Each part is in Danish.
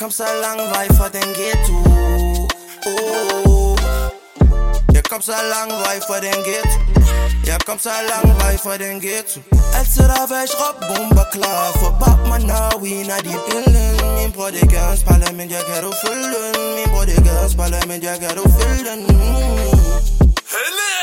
kom så lang vej fra den ghetto oh. Jeg kom så lang vej fra den ghetto Jeg kom så lang vej fra den ghetto Altid der væk råb bomber klar For bag mig når vi når de billen Min bror det gør en spejler, men jeg kan du følge den Min bror det gør en spejler, men jeg kan du følge den mm.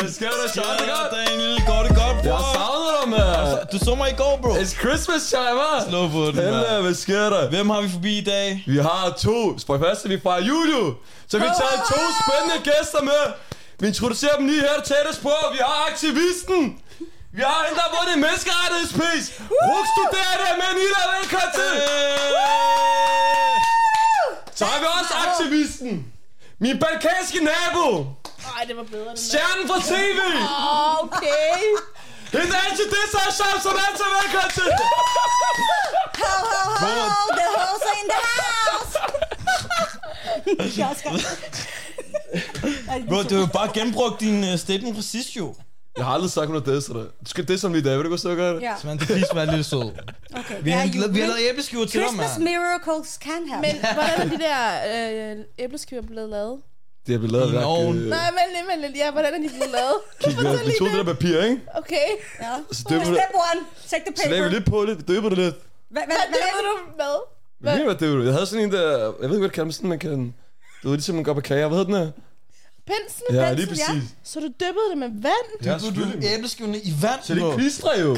Hvad sker der, Sean? Det er godt. Daniel, går det godt, Jeg bror? savner dig, mand. Altså, Du så mig i går, bro. It's Christmas time, hva'? Slå på den, Helle, mand. hvad sker der? Hvem har vi forbi i dag? Vi har to. For det første, vi fra Juju. Så vi har taget to spændende gæster med. Vi introducerer dem lige her tættest på. Vi har aktivisten. Vi har hende, der har vundet en menneskerettighedspris. Ruk studerende med Nila, velkommen til. Så har vi også aktivisten. Min balkanske nabo. Ej, det var bedre den der. Stjernen fra TV. Okay. Hende er altid det, så er Shamsen altid velkommen til. Ho, ho, ho, the hoes are in the house. Jeg skal... Bro, du har jo bare genbrugt din uh, statement fra sidst, jo. Jeg har aldrig sagt, hun har disset dig. Du skal disse ham lige i dag, vil du godt stå og gøre det? Ja, Man, det please være lidt sød. okay. Vi Ja, har, you vi har win. lavet æbleskiver til dig, Christmas mand. miracles can happen. Men hvordan er de der øh, æbleskiver blevet lavet? Det er blevet lavet I en værk. ovn. øh, Nej, vent lidt, vent lidt. Ja, hvordan er de blevet lavet? Kig, vi har- vi tog det der papir, ikke? Okay. Ja. Så døber det. Step one, take the Så lagde paper. vi lidt på det, vi døber det lidt. Hvad hvad- Hvad hvad ved er det? du med? Hvad? Ved du, hvad døber det? Jeg havde sådan en der, jeg ved ikke, hvad det kalder, men sådan man kan, du ved, ligesom man går på kager, hvad hedder den her? Pensen? Ja, Pensel, lige præcis. Så du dyppede det med vand? Du, du, du selvfølgelig. æbleskiverne i vand, Så det bro. klistrer jo.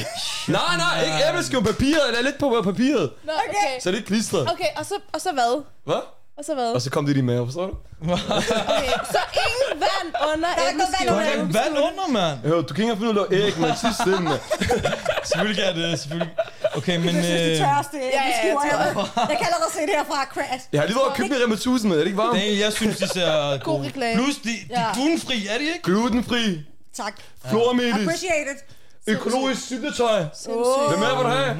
nej, nej, ikke æbleskiven, papiret, eller lidt på papiret. Nå, okay. Så det klistrer. Okay, og så, og så hvad? Hvad? Og så hvad? Og så kom det i din mave, forstår du? Okay, så ingen vand under Der er ikke noget vand Der æbleskiverne. er ikke vand under, mand. Jeg hører, du kan ikke engang finde ud af at lave æg, men sidst den, mand. Selvfølgelig er det, selvfølgelig. Okay, men... Jeg synes, de Øh, tørreste ja, jeg skiver tror- her. Jeg kan allerede se det herfra, crash. Jeg har lige været og købt mig rem 1000, mand. Er det ikke varmt? Daniel, jeg synes, de ser God reklame. Plus, de, de er Ja. glutenfri, er de ikke? Glutenfri, Tak. flormelis, Appreciate it. økologisk syltetøj. Sindssygt. Hvem er vil du have?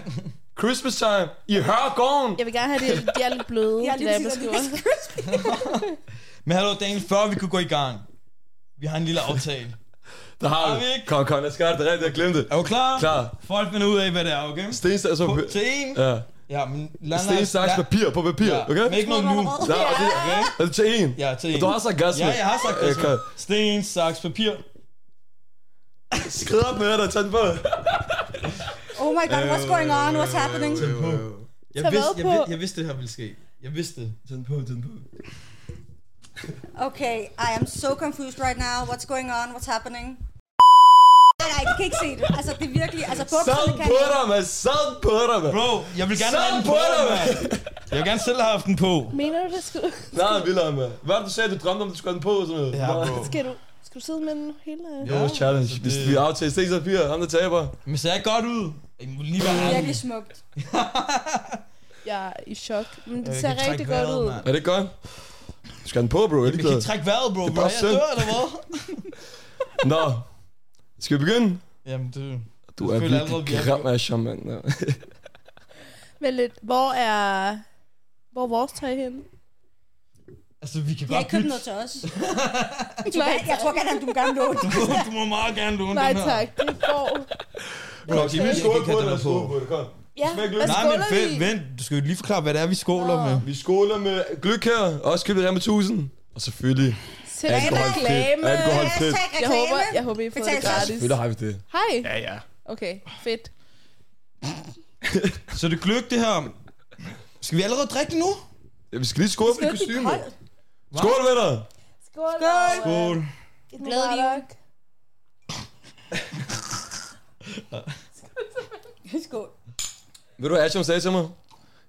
Christmas time. I Hørgården. Jeg vil gerne have det. De er lidt bløde, Jeg de der æbleskiver. Men hallo, Daniel, før vi kunne gå i gang. Vi har en lille aftale. Der har Har vi. vi ikke? Kom, kom, lad os gøre det. Det er rigtigt, jeg glemte det. Er du klar? Klar. Folk finder ud af, hvad det er, okay? Sten, altså, På, til en. ja. Ja, men lad Sten, saks, papir på papir, Ja, okay? Men ikke noget nu. Ja, og det, okay. Altså, til en. Ja, til en. Du har sagt gas Ja, med. jeg har sagt det. Okay. Okay. Sten, saks, papir. Skrid op med dig, tag den på. Oh my god, what's going on? What's Øh, happening? Jeg Tag vidste, hvad jeg, på? vidste, jeg vidste, det her ville ske. Jeg vidste det. Tag den på, tag den på. øh. Okay, I am so confused right now. What's going on? What's happening? Nej, nej, de kan ikke se det. Altså, det er virkelig... Altså, Sad bukserne kan... på dig, mand. Sad på dig, mand. Bro, jeg vil gerne Så have den på på, dig, mand. Jeg vil gerne selv have haft den på. Mener du det? Skal du, Nej, vildere, mand. Hvad var det, du sagde, du drømte om, du skulle have den på og sådan noget? Ja, Nej. bro. skal du, skal du sidde med den hele? Det var vores challenge. så Hvis det- vi aftager Sten, så papir, ham der taber. Men ser jeg godt ud? Jeg må lige være ærlig. Virkelig smukt. Jeg er i chok. Men det Øh, Jeg ser kan trække rigtig godt vejret, ud. mand. Er det godt? Du skal have den på, bro. Jeg er Jeg kan ligeglad. ikke trække vejret, bro. Det er bro. bare Jeg synd. dør, eller hvad? Nå. Skal vi begynde? Jamen, det... Du Jeg er føler allerede, vi virkelig er- grim af shaman. mand. Men lidt, hvor er... Hvor er vores tøj henne? Altså, vi kan Jeg godt har ikke købt bytte. noget til os. Jeg tror gerne, at du gerne låne det. Du, du må meget gerne låne Nej den her. tak, det går. Kom, Okay. skal vi Jeg skåle kan på tage det? den Lad os på. skåle på det, kom. Ja, Smag gløgg. hvad Nej, men skåler vent, vi? vent. Du skal jo lige forklare, hvad det er, vi skåler Nå. med. Vi skåler med gløk her. Også købt i Rema 1000. Og selvfølgelig Sæt alkoholfri. reklame. Alkoholfri. Hashtag Jeg håber, reklame. jeg håber, I får Betal det gratis. Selvfølgelig har vi det. Hej. Ja, ja. Okay, fedt. Så det gløk, det her. Skal vi allerede drikke det nu? ja vi skal lige skåle på Det det er kostyme. koldt. Skål med dig. Skål. Skål. Glædelig jul. Skål. Ved du, hvad Asham sagde til mig?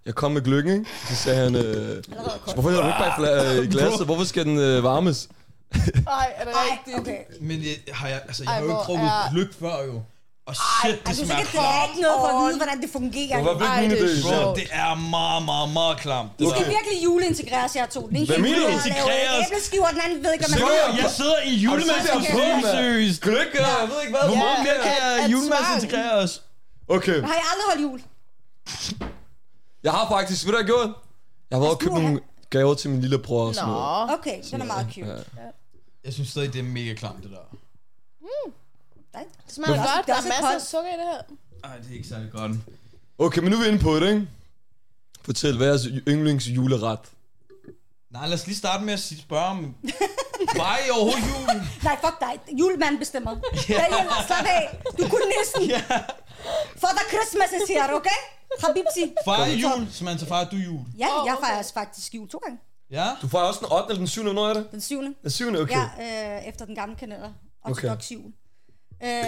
Jeg kom med gløggen, ikke? Så sagde han, øh, Allerede koldt. hvorfor hedder du ikke bare i fla- øh, i glasset? Hvorfor skal den øh, varmes? Ej, er det Ej, rigtigt? okay. Men jeg, har jeg, altså, jeg Ej, har jo ikke hvor drukket er- gløk før, jo. Og shit, Ej, det du skal smager ikke klamt. drikke noget for at vide, hvordan det fungerer. Hvorfor jo. fik Ej, min det idé? er Bro, sjovt. det er meget, meget, meget klamt. Det Du skal virkelig juleintegreres jer to. Den ene Hvad kan mener du? lide at lave Integreres? æbleskiver, den anden ved ikke, hvad man Sikker? gør. Jeg sidder i Har julemanden du set på, det her på, mand? seriøst. Gløk, ja, jeg ved ikke hvad. Hvor Ja. meget mere kan at- jeg at julemanden tvang. integrere os? Okay, Har jeg aldrig holdt jul? jeg har faktisk, ved du, hvad jeg har gjort? Jeg har været og købt nogle gaver til min lillebror og sådan noget. Nå. Okay, den er meget cute. Ja. Jeg synes stadig, det er mega klamt, det der. Nej, Det smager Men- godt. Det Der er er også masser af koldt. sukker i det her. Nej, det er ikke særlig godt. Okay, men nu er vi inde på det, ikke? Fortæl, hvad er jeres yndlings juleret? Nej, lad os lige starte med at sige- spørge om... Var I overhovedet jul? Nej, fuck dig. Julemanden bestemmer. Daniel, slap af. Du kunne næsten. Ja. Father Christmas is here, okay? Habibsi. Far er jul, så man tager far, du er jul. Ja, Åh, jeg okay. fejrer faktisk jul to gange. Ja? Du får også den 8. eller den 7. Hvornår er det? Den syvende. Den 7. Okay. Ja, øh, efter den gamle kalender. Ortodox okay. jul. Øh,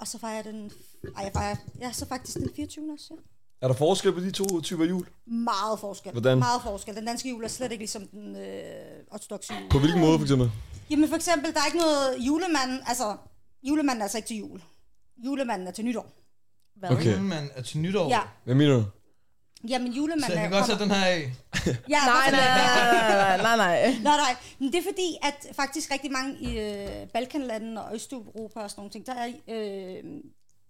og så fejrer jeg den... Ej, jeg fejrer... Ja, så faktisk den 24. også, ja. Er der forskel på de to typer jul? Meget forskel. Hvordan? Meget forskel. Den danske jul er slet ikke ligesom den øh, ortodoxe jul. På hvilken måde, for eksempel? Jamen for eksempel, der er ikke noget julemanden, altså julemanden er altså ikke til jul. Julemanden er til nytår. Hvad? Okay. Julemanden er til nytår. Ja, Hvad mener du? jamen Så julemanden jeg er... kan godt sætte den her af. Ja, Nej, nej, hvorfor det? nej, nej, nej, nej. Nej, nej. Men det er fordi, at faktisk rigtig mange i øh, Balkanlandene og Østeuropa og sådan nogle ting, der er, øh,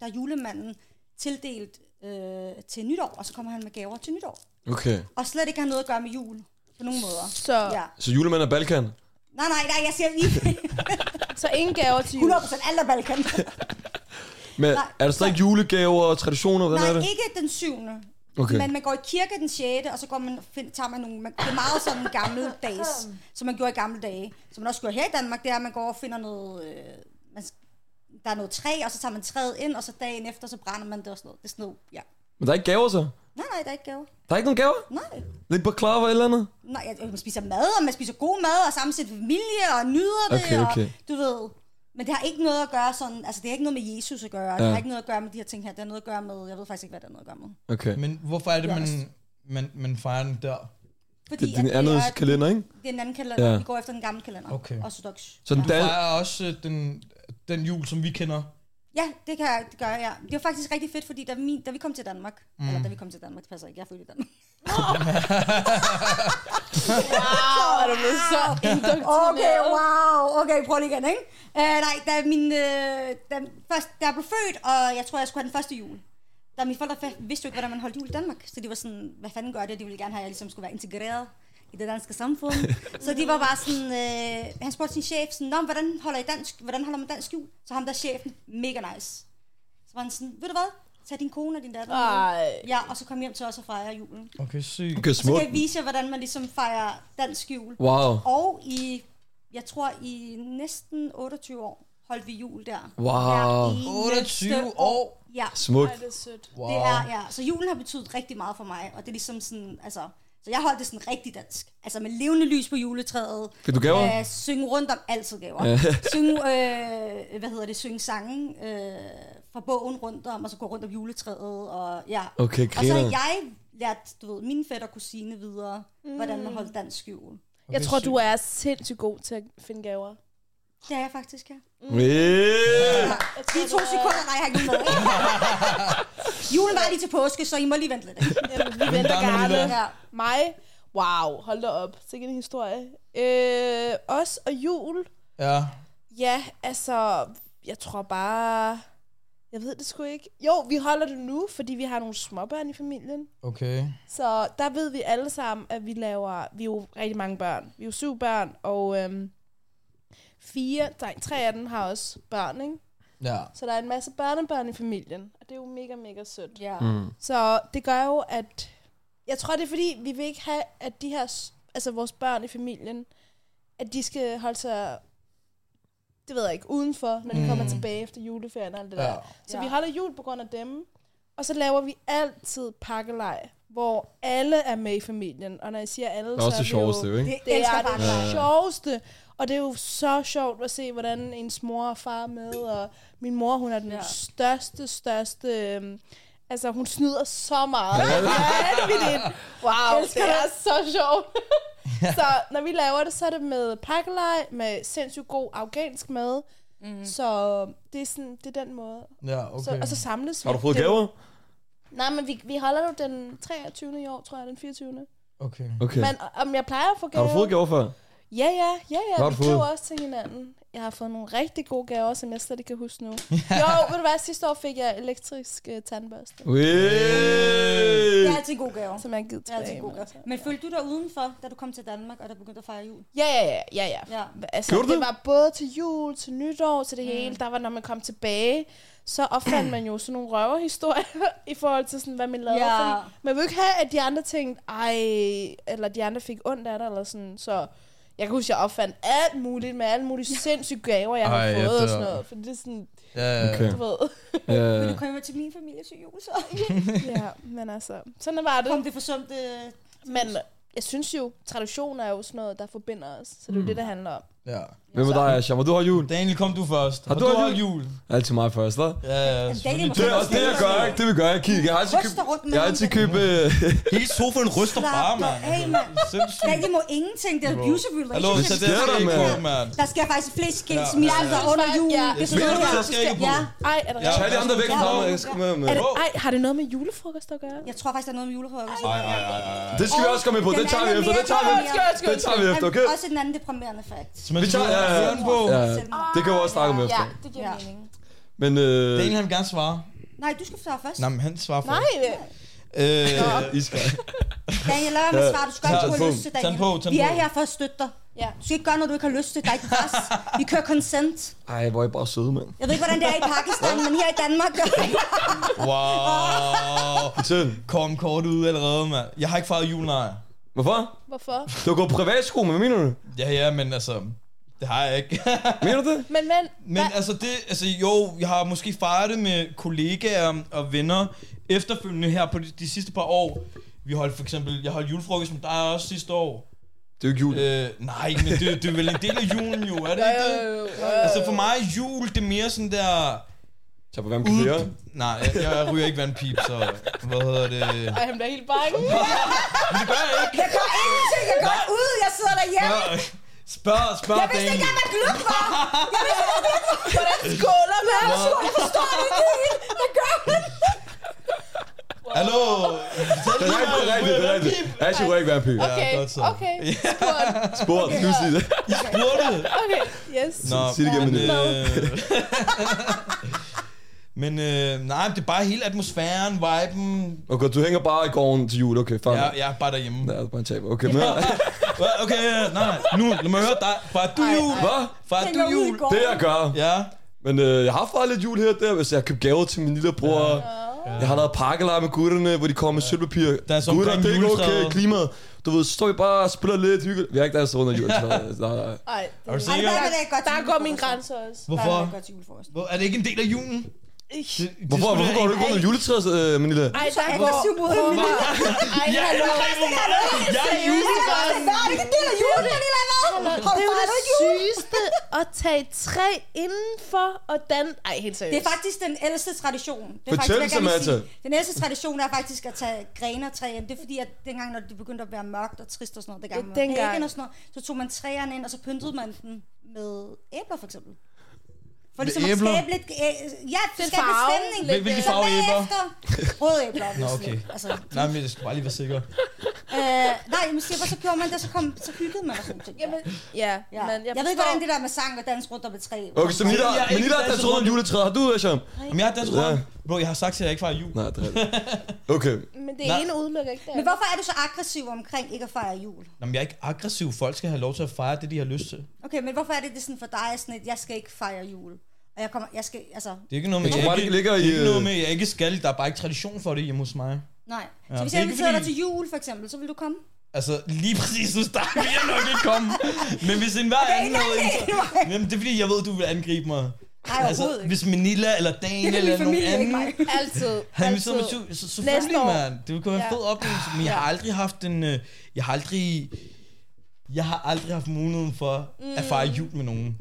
der er julemanden tildelt øh, til nytår, og så kommer han med gaver til nytår. Okay. Og slet ikke har noget at gøre med jul, på nogen måder. Så, Ja. Så julemanden er Balkan? Nej, nej, nej, jeg siger lige så ingen gaver til jul. 100% alt er Balkan. Men Nej, er der stadig julegaver og traditioner? Hvad er det? nej, ikke den syvende. Okay. Okay. Men man går i kirke den 6., og så går man, find, tager man nogle... Man, det er meget sådan gamle dages, som man gjorde i gamle dage. Som man også gjorde her i Danmark, det er, at man går og finder noget... Øh, man, der er noget træ, og så tager man træet ind, og så dagen efter, så brænder man det og sådan noget. Det er sådan noget, ja. Men der er ikke gaver så? Nej, nej, der er ikke gaver. Der er ikke nogen gaver? Nej. Lidt på klar eller andet? Nej, jeg- man spiser mad, og man spiser god mad, og samtidig familie, og nyder det, Okay, okay. og du ved... Men det har ikke noget at gøre sådan... Altså, det har ikke noget med Jesus at gøre. Ja. Ja. Det har ikke noget at gøre med de her ting her. Det har noget at gøre med... Jeg ved faktisk ikke, hvad det har noget at gøre med. Okay. Men hvorfor er det, man, Yes. man, man fejrer den der? Fordi Det er din at andet er- kalender, ikke? Det er en anden kalender. Ja. Ja. Vi går efter den gamle kalender. Okay. Ortodox. Så den Du dan... fejrer også øh, den, den jul, som vi kender. Ja, det kan jeg det gør jeg. Det var faktisk rigtig fedt, fordi da vi, da vi kom til Danmark, mm. eller da vi kom til Danmark, det passer ikke, jeg er født i Danmark. Wow, er du blevet så indoktrineret. Okay, wow. Okay, prøv lige igen, ikke? Uh, nej, da, min, uh, da, først, da jeg blev født, og jeg tror, jeg skulle have den første jul, da mine forældre fa- vidste jo ikke, hvordan man holdt jul i Danmark. Så de var sådan, hvad fanden gør det? De ville gerne have, at jeg ligesom skulle være integreret i det danske samfund. så de var bare sådan, øh, han spurgte sin chef, sådan, Nå, men hvordan holder, I dansk, hvordan holder man dansk jul? Så ham der chefen, mega nice. Så var han sådan, ved du hvad? Tag din kone og din datter. med." Ej. Ja, og så kom hjem til os og fejre julen. Okay, syg. Okay, Så smukt. kan jeg vise jer, hvordan man ligesom fejrer dansk jul. Wow. Og i, jeg tror i næsten 28 år holdt vi jul der. Wow. Hver eneste 28 år? Ja, Smukt. Ej, det er sødt. Wow. det er, ja. Så julen har betydet rigtig meget for mig, og det er ligesom sådan, altså, så jeg holdt det sådan rigtig dansk. Altså med levende lys på juletræet. Fik du gaver? Øh, synge rundt om altid gaver. synge, øh, hvad hedder det, synge sange øh, fra bogen rundt om, og så gå rundt om juletræet. Og, ja. Okay, og så har griner. jeg lært, du ved, mine fætter og kusine videre, hvordan man holder dansk jul. Jeg tror, du er sindssygt god til at finde gaver. Det er jeg faktisk, ja. Yeah. De to sekunder, nej, jeg har ikke noget med. Julen var lige til påske, så I må lige vente lidt. Jamen, vi venter der er noget gerne. der. Ja. Mig? Wow, hold da op. Sikke en historie. Øh, os og jul. Ja. Ja, altså, jeg tror bare... Jeg ved det sgu ikke. Jo, vi holder det nu, fordi vi har nogle småbørn i familien. Okay. Så der ved vi alle sammen, at vi laver... Vi er jo rigtig mange børn. Vi er jo syv børn, og øhm, fire... Nej, tre af dem har også børn, ikke? Ja. Så der er en masse børnebørn i familien, og det er jo mega, mega sødt. Ja. Så det gør jo, at... Jeg tror, det er fordi, vi vil ikke have, at de her... s- Altså vores børn i familien, at de skal holde sig... Det ved jeg ikke, udenfor, når de mm. kommer tilbage efter juleferien og alt det Ja. ja. der. Så Ja. vi holder jul på grund af dem. Og så laver vi altid pakkelej, hvor alle er med i familien. Og når jeg siger alle, Det er så også det sjoveste, jo, jo, ikke? det elsker er det pakkelej. ja. sjoveste. Og det er jo så sjovt at se, hvordan ens mor og far er med. Og min mor, hun er den Ja. ja. største, største... øhm, Altså, hun snyder så meget. Vanvittigt. Wow, det er så sjovt. så når vi laver det, så er det med pakkelej, med sindssygt god afghansk mad. Mm. Så det er, sådan, det er den måde. Ja, Så, okay. altså- og så samles vi. Har du fået den, gaver? Nej, men vi, vi holder jo den 23. i år, tror jeg, den 24. Okay. Okay. Men om jeg plejer at få gaver... Har du fået gaver før? Ja, ja, ja, ja. Hvad har Vi du køber fået? også til hinanden. Jeg har fået nogle rigtig gode gaver, som jeg slet ikke kan huske nu. øh, jo, ved du hvad? Sidste år fik jeg elektrisk uh, tandbørste. Hey. det er altid en god gave. som jeg har givet Det er altid tilbage. en god men- gave. Men følte du dig udenfor, da du kom til Danmark, og der begyndte at fejre jul? Ja, ja, ja, ja, ja. Ja. Altså, Gjorde det? du det? det var både til jul, til nytår, til det mm. hele. Der var, når man kom tilbage, så opfandt man jo sådan nogle røverhistorier i forhold til, sådan, hvad man lavede. Ja. Fordi man vil ikke have, at de andre tænkte, ej, eller de andre fik ondt af det, eller sådan. Så jeg kan huske, jeg opfandt alt muligt med alle mulige sindssyge gaver, jeg Ej, havde jeg fået og dør. sådan noget. For det er sådan, Ja, Okay. okay. du ved. Men Ja. Øh. du kom jo til min familie til jul, så ja, men altså, sådan var det. kom det forsømte... Men jeg synes jo, traditioner er jo sådan noget, der forbinder os. Så det er jo det, det handler om. ja. Mm. Hvem er dig, Asham? Har du har jul? Daniel, kom du først. Har du har holdt holdt jul? Altid mig først, da? Ja, ja. Daniel selvfølgelig. må Det er også det, jeg gør, ikke? Det vi gør, jeg kigger. Jeg har altid købt... Ryster rundt med Jeg har altid købt... øh, Hele sofaen ryster bare, Slap dig mand. af, mand. Sindssygt. Daniel må ingenting, det er abusive Hallo, relationship. så det sker skal der, ikke mand? på, mand. Der skal faktisk flere skills, Ja. ja, ja, ja. under Ja. julen. Ja. Det er Mener sådan du, noget, der skal ikke på? Ja. Ej, er der Ja. Tag de andre væk Ja. fra mig. Jeg skal med, med. Er det, ej, har det noget med julefrokost at gøre? Jeg tror faktisk, der er noget med julefrokost. Ej, ej, ej, ej. Det skal vi også komme med på. Det tager vi efter. Det tager vi efter. Det tager vi efter, okay? Også en anden deprimerende fakt. Men Vi tager- ja, ja, ja. Høren på. Ja. Ah. Det kan vi også snakke om efter. det giver Ja. mening. Men øh, Daniel, han vil gerne svare. Nej, du skal svare først. Nej, men han svarer først. Nej, det- Øh, I skal... Daniel, lad være med Ja. at svare. Du skal ikke Tag have den lyst på. til, Tag den Daniel. på, tag den Vi er på. her for at støtte dig. ja. Du skal ikke gøre noget, du ikke har lyst til. Der er ikke pres. Vi kører consent. Ej, hvor er I bare søde, mand. Jeg ved ikke, hvordan det er i Pakistan, men her i Danmark gør vi det. wow. Til. Kom kort ud allerede, mand. Jeg har ikke fejret jul, nej. Hvorfor? Hvorfor? Du har gået privatskole, hvad mener du? Ja, ja, men altså... Det har jeg ikke. Mener du det? Men, men, men altså, det, altså, jo, jeg har måske fejret det med kollegaer og venner efterfølgende her på de, de sidste par år. Vi holdt for eksempel, jeg holdt julefrokost med dig også sidste år. Det er jo ikke jul. Øh, nej, men det, det er vel en del af julen jo, er det ikke det? Altså for mig er jul, det er mere sådan der... Tag på hvem kan flere. Nej, jeg, jeg ryger ikke vandpip, så... Hvad hedder det? Ej, han bliver helt bange. Det gør jeg ikke! Jeg gør ingenting. Jeg går ud. Jeg sidder derhjemme. Spørg, spørg, spørg Jeg vidste Daniel. ikke, at man gløb var. Skåler med Nå. Jeg forstår det ikke. Jeg gør det. Hallo! Det er rigtigt, det er rigtigt, det er rigtigt. Asher kunne ikke være pige. Okay, godt så. okay. Skål. Spurgt, nu siger det. Spurgte! Okay, yes. Nå, Sig det igen med men, det. øh, men øh, nej, det er bare hele atmosfæren, viben. Okay, du hænger bare i gården til jul, okay, fair. Ja, nok. jeg er bare derhjemme. Ja, det er bare en taber. Okay, men Hva- Okay, nej, nej. Nu, lad mig høre dig. Far, du jul. hvad? Far, du Hænger ud i jul. går. Det jeg gør. Ja. Men øh, jeg har fået lidt jul her og der, hvis jeg har købt gaver til min lille bror. Jeg har lavet pakkelej med gutterne, hvor de kommer med sølvpapir. Der er så Gutter, omkring det er ikke okay, juletræet. klimaet. Du ved, så står vi bare og spiller lidt hyggeligt. Vi har ikke danset under juletræet. Nej, nej. Ej, Er du det, Ej, sikker? der er det godt til der går min julefrokosten. grænse også. Hvorfor? Der er det godt til julefrokosten. Hvor- Er det ikke en del af julen? Det, det Hvorfor, skulle hvorfor da går du ikke- ikke under juletræet, øh, min lille? Ej, der Så går... aggressiv mod hende. Prøv at- Ej, Ja, hallo. Jeg er Hvad er Seriøst, det? Hvad er det? Det er en del af julen, Pernille, eller hvad? Det Har er du jo fejret det jul? sygeste at tage tre indenfor og danne... Ej, helt seriøst. Det er faktisk den ældste tradition. Det er Fortæl faktisk, jeg så, gerne vil Mata. sige. Den ældste tradition er faktisk at tage grene og træer. Det er fordi, at dengang, når det begyndte at være mørkt og trist og sådan noget, dengang, Ja, man dengang. dengang. og sådan noget, så tog man træerne ind, og så pyntede man den med æbler, for eksempel. For ligesom at æbler? skabe lidt... Øh, ja, det Den skabe lidt farve. stemning. Hvil- hvilke Så farve æbler? bagefter- Røde æbler, Nå, obviously. okay. Altså, Nej, men jeg skal bare lige være sikker. øh, nej, men siger, så gjorde man det, så, kom, så hyggede man og sådan ting. Jamen, ja, ja. men jeg, jeg ved ikke, hvordan det der med sang og dans rundt om et træ. Okay, så min lille, Jeg er min lille har ikke danset under danset juletræet. Har du, Asham? Men jeg har dansk Ja. ja. Bro, jeg har sagt til jer, jeg ikke fejrer jul. Nej, det er rigtigt. Okay. Men det Nej. ene udelukker ikke det Men andet. hvorfor er du så aggressiv omkring ikke at fejre jul? Nå, men jeg er ikke aggressiv. Folk skal have lov til at fejre det, de har lyst til. Okay, men hvorfor er det, det sådan for dig, er sådan at jeg skal ikke fejre jul? Og jeg kommer, jeg skal, altså, Det er ikke noget med, Jeg jeg, tror bare, det ikke, ligger det i, er ikke øh, noget med, jeg ikke skal. Der er bare ikke tradition for det hjemme hos mig. nej. Ja, Ja, så hvis det er jeg ikke inviterer dig fordi- til jul, for eksempel, så vil du komme? Altså, lige præcis hos dig vil jeg nok ikke komme. Men hvis en hver anden havde... Nej, Jamen, det er fordi, jeg ved, du vil angribe mig. Altså, overhovedet ikke. hvis Manila eller Daniel Det er eller min nogen familie, ikke anden... mig. Altid. Han vil altid. så med syv, så selvfølgelig, Næste år. mand. Det kunne være en Ja. fed oplevelse, men jeg har aldrig haft en... Øh, jeg har aldrig... Jeg har aldrig haft muligheden for at fejre Mm. jul med nogen.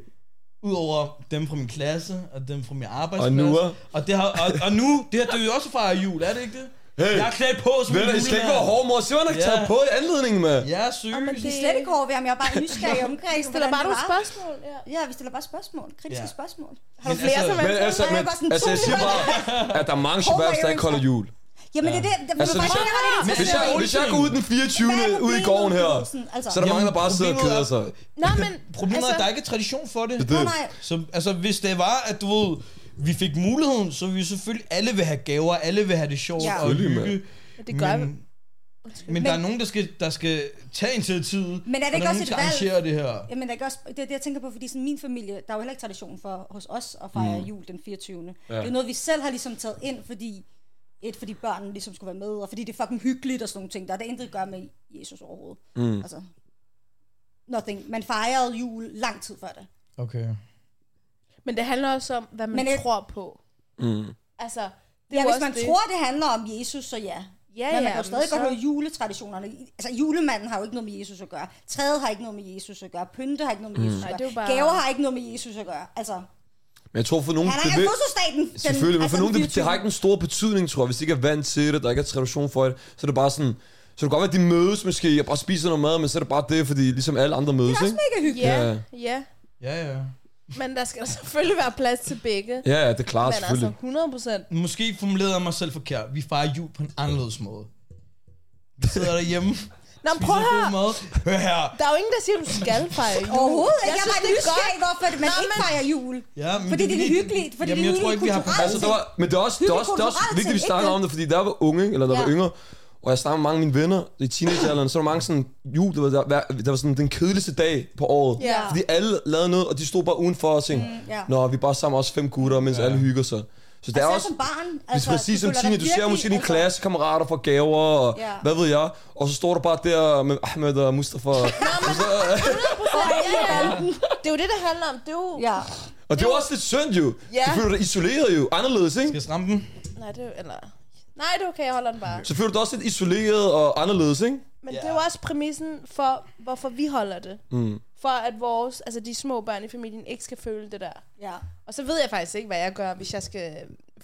Udover dem fra min klasse, og dem fra min arbejdsplads. Og nu? Og, det har, og, og nu, det her, det er jo også at fejre jul, er det ikke det? Hey. Jeg er klædt på som Vel, en I skal ikke julemand. være hård, mor. Se, hvad han har Ja. taget på i anledningen, med. Ja, seriøst. men Vi det- er slet ikke over ved ham, jeg er bare nysgerrig omkring, Jeg stiller hvordan bare det nogle var. spørgsmål. Ja. Ja, vi stiller bare spørgsmål, kritiske Ja. spørgsmål. Har du flere, altså- som er Men altså, Jeg men, er bare sådan altså, jeg siger bare, at der er mange shababs, der ikke holder jul. Jamen, det er det, det Altså, vil hvis faktisk jeg- være lidt Hvis jeg, hvis jeg går ud den 24. Hvad er ud i problemet, gården her, Olsen? Altså, så er der mange, der bare sidder og Problemet keder er- sig. Nå, men... Problemet altså, er, at der altså, ikke er tradition for det. Det- Nå, nej, Så, altså, hvis det var, at du ved, vi fik muligheden, så ville vi selvfølgelig alle vil have gaver, alle vil have det sjovt Ja. og Selvfølgelig, hygge. Og det gør vi. men, men, men der er nogen, der skal, der skal tage initiativet. Men er det og ikke der også nogen, et der valg? arrangere det her. Jamen, der er ikke også, det er det, jeg tænker på, fordi sådan min familie, der er jo heller ikke tradition for hos os at fejre mm. jul den 24. Ja. Det er noget, vi selv har ligesom taget ind, fordi et, fordi børnene ligesom skulle være med, og fordi det er fucking hyggeligt og sådan nogle ting. Der er det intet at gøre med Jesus overhovedet. Mm. Altså, nothing. Man fejrede jul lang tid før det. Okay. Men det handler også om, hvad man Men det- tror på. Mm. Altså, det Ja, er jo hvis også man det. det. tror, det handler om Jesus, så ja. Ja, Men man ja, kan jo men stadig godt så- holde juletraditionerne. Altså, julemanden har jo ikke noget med Jesus at gøre. Træet har ikke noget med Jesus at gøre. Pynte har ikke noget med Jesus Nej, at det er gøre. jo bare- Gaver har ikke noget med Jesus at gøre. Altså, Men jeg tror for nogen... han har det ikke vil- fødselsdag den, altså, den Selvfølgelig, men for den nogen, det, det 24.. har ikke den store betydning, tror jeg. Hvis de ikke er vant til det, der ikke er tradition for det, så er det bare sådan... Så det kan godt være, at de mødes måske og bare spiser noget mad, men så er det bare det, fordi ligesom alle andre mødes, Det er også ikke? mega hyggeligt. Ja, Ja. ja. Ja, ja. Men der skal selvfølgelig være plads til begge. Ja, ja, det er klart, Men altså, selvfølgelig. 100 procent. Måske formulerede jeg mig selv forkert. Vi fejrer jul på en anderledes måde. Vi sidder derhjemme, Nå, men prøv spiser god at høre. mad. Hør her. Der er jo ingen, der siger, at du skal fejre jul. Overhovedet ikke. Jeg, synes, var det er nysgerrig, hvorfor det- man Nej, ikke men- fejrer jul. Ja, men Fordi det er fordi- hyggeligt. Fordi Jamen, det er jeg tror ikke, vi har- kulturelt Altså, der var, men det er også, det er også, det er også Hyggeligt vigtigt, at vi kulturelt snakker ting, om det, fordi da jeg var unge, eller da jeg var Ja. yngre, og jeg snakkede med mange af mine venner i teenagealderen, så var der mange sådan, jul, det var, der, hver- der var sådan den kedeligste dag på året. Ja. Fordi alle lavede noget, og de stod bare udenfor og tænkte, mm, ja. nå, vi er bare sammen også fem gutter, mens alle hygger sig. Så det er Selv også, som barn. Altså, altså, det er præcis du som føler Tina, dig du ser virkelig- måske dine altså, klassekammerater for gaver, og Ja. hvad ved jeg, og så står du bare der med Ahmed og Mustafa. og, Det er jo det, det handler om. Det er jo... Ja. og det er jo også lidt synd jo. Ja. Du føler dig isoleret jo, anderledes, Skal ikke? jeg stramme den? Nej, det er jo... Eller... Nej, det er okay, jeg holder den bare. Så føler du dig også lidt isoleret og anderledes, ikke? Men det er jo også præmissen for, hvorfor vi holder det. Mm. For at vores, altså de små børn i familien ikke skal føle det der. Ja. Og så ved jeg faktisk ikke, hvad jeg gør, hvis jeg skal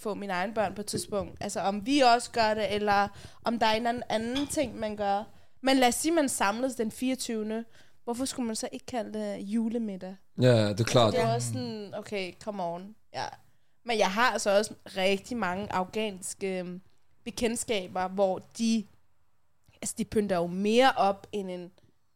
få mine egne børn på et tidspunkt. Altså om vi også gør det, eller om der er en eller anden anden ting, man gør. Men lad os sige, man samles den 24. Hvorfor skulle man så ikke kalde det julemiddag? Ja, det er klart. Det var også sådan, okay, come on. Ja. Men jeg har altså også rigtig mange afghanske øhm, bekendtskaber, hvor de, altså de pynter jo mere op end en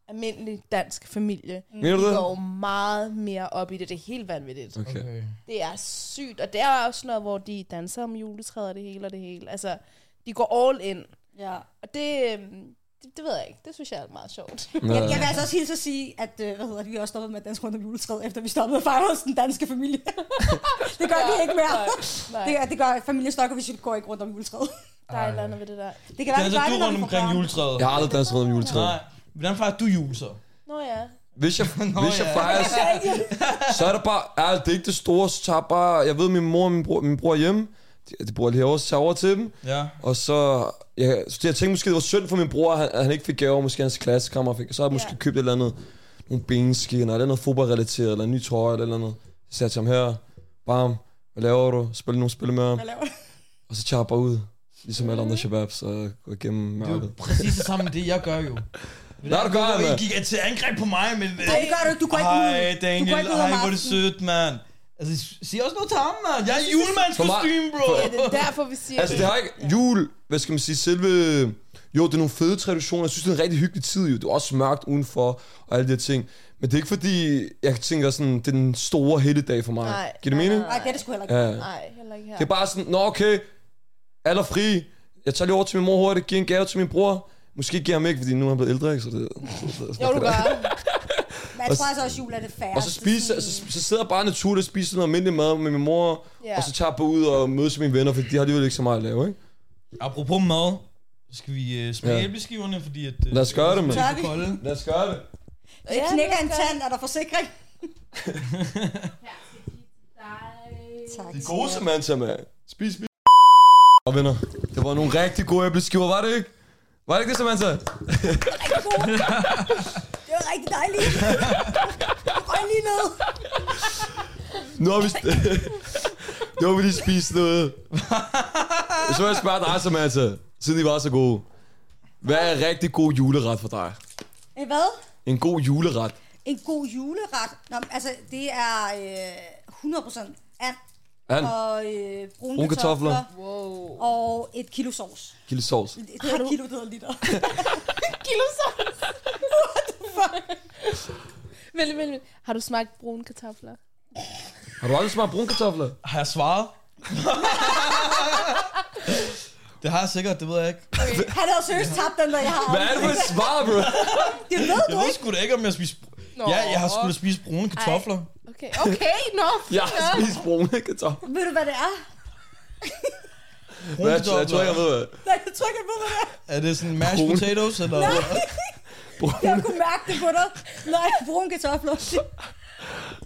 almindelig dansk familie. Mm. Mener De du det? Mm. går jo meget mere op i det. Det er helt vanvittigt. Okay. Okay. Det er sygt. Og det er også noget, hvor de danser om juletræet og det hele og det hele. Altså, de går all in. Ja. Og det, øhm, det, det ved jeg ikke. Det synes jeg er meget sjovt. Jeg, jeg vil altså også hilse at sige, at øh, hvad hedder det, vi har også stoppet med at danse rundt om juletræet, efter vi stoppede at fejre hos den danske familie. det gør vi ikke mere. nej. Det, det gør familien Stokker, hvis vi går ikke rundt om juletræet. Der er et eller andet ved det der. Det kan være, Danser det altså, gør du det, når vi rundt får omkring børn. juletræet? Jeg har aldrig danset rundt om Nej. juletræet. Hvordan fejrer du jul så? Nå ja. Hvis jeg, Nå, hvis jeg ja. fejrer, så er det bare, ja, det er ikke det store, så tager jeg bare, jeg ved, min mor og min bror, min bror er hjemme, de, de bor lige herovre, så tager jeg over til dem, Ja. Og så, ja, så jeg tænkte måske, det var synd for min bror, at han, at han ikke fik gaver, måske hans klassekammer fik. Så har jeg måske Ja. købt et eller andet, nogle benskinner, eller noget fodboldrelateret, eller en ny trøje, eller et eller andet. Så sagde jeg til ham her, bam, hvad laver du? Spil nogle spil med ham. Hvad laver du? Og så tager jeg bare ud, ligesom alle andre shababs, og går igennem Det er jo mørket. præcis det samme med det, jeg gør jo. Nå, det gør jeg, Hvor I mand. gik til angreb på mig, men... Nej, det gør du ikke. Du går ikke ud. Ej, du går Daniel, ikke ud om ej, hvor er det aftenen. sødt, mand. Altså, sig også noget til ham, mand. Jeg er i julemandskostyme, bro. Ja, det er derfor, vi siger Altså, det har ikke... Jul, hvad skal man sige, selve... Jo, det er nogle fede traditioner. Jeg synes, det er en rigtig hyggelig tid, jo. Det er også mørkt udenfor, og alle de her ting. Men det er ikke fordi, jeg tænker sådan, det er den store helligdag for mig. Nej. Giver det mening? Nej, det er det sgu heller ikke. Ja. Nej, heller ikke her. Det er bare sådan, nå okay, alle er fri. Jeg tager lige over til min mor hurtigt, giver en gave til min bror. Måske giver ham ikke, fordi nu er han blevet ældre, ikke? Så det, Jo, du gør. Men jeg tror altså også, jul er det færre. og så, spiser, så, så sidder jeg bare naturligt og spiser noget almindelig mad med min mor, Ja. og så tager jeg på ud og mødes med mine venner, for de har alligevel ikke så meget at lave, ikke? Apropos mad, så skal vi øh, smage Ja. æbleskiverne, fordi at... øh, Lad os gøre det, mand. Tør de vi? er kolde. Lad os gøre det. Ja, Knækker en det er tand, er der forsikring? tak. De er gode som man, mand. Spis, spis. Og venner, det var nogle rigtig gode æbleskiver, var det ikke? Var det ikke det, Samantha? Det var rigtig dejligt. Røg lige ned. Nu har vi... nu har vi lige spist noget. Så vil jeg spørge dig, Samantha, siden I var så gode. Hvad er en rigtig god juleret for dig? Eh, Hvad? En god juleret. En god juleret. Nå, men altså, det er øh, 100% and And og øh, brune, Brune kartofler. kartofler. Wow. Og et kilo sovs. kille sovs. Det det er et kilo, det hedder liter. Kilo sovs. Vent, vent, vent. Har du smagt brune kartofler? Har du aldrig smagt brune kartofler? Har jeg svaret? Det har jeg sikkert, det ved jeg ikke. Han havde seriøst tabt den, der jeg har. Hvad er det for et svar, bro? Det ved Jeg du ved ikke. sgu da ikke, om jeg spiser... Nå. Ja, jeg har skulle spise brune kartofler. Okay, okay, nå. Jeg har spist brune kartofler. Ved du, hvad det er? Brune Hvad, jeg tror kartofler. ikke, jeg ved, hvad. Nej, jeg tror ikke, jeg ved, hvad det er. Er det sådan mashed Brune. potatoes, eller... Jeg kunne mærke det på dig. Nej, brune kartofler.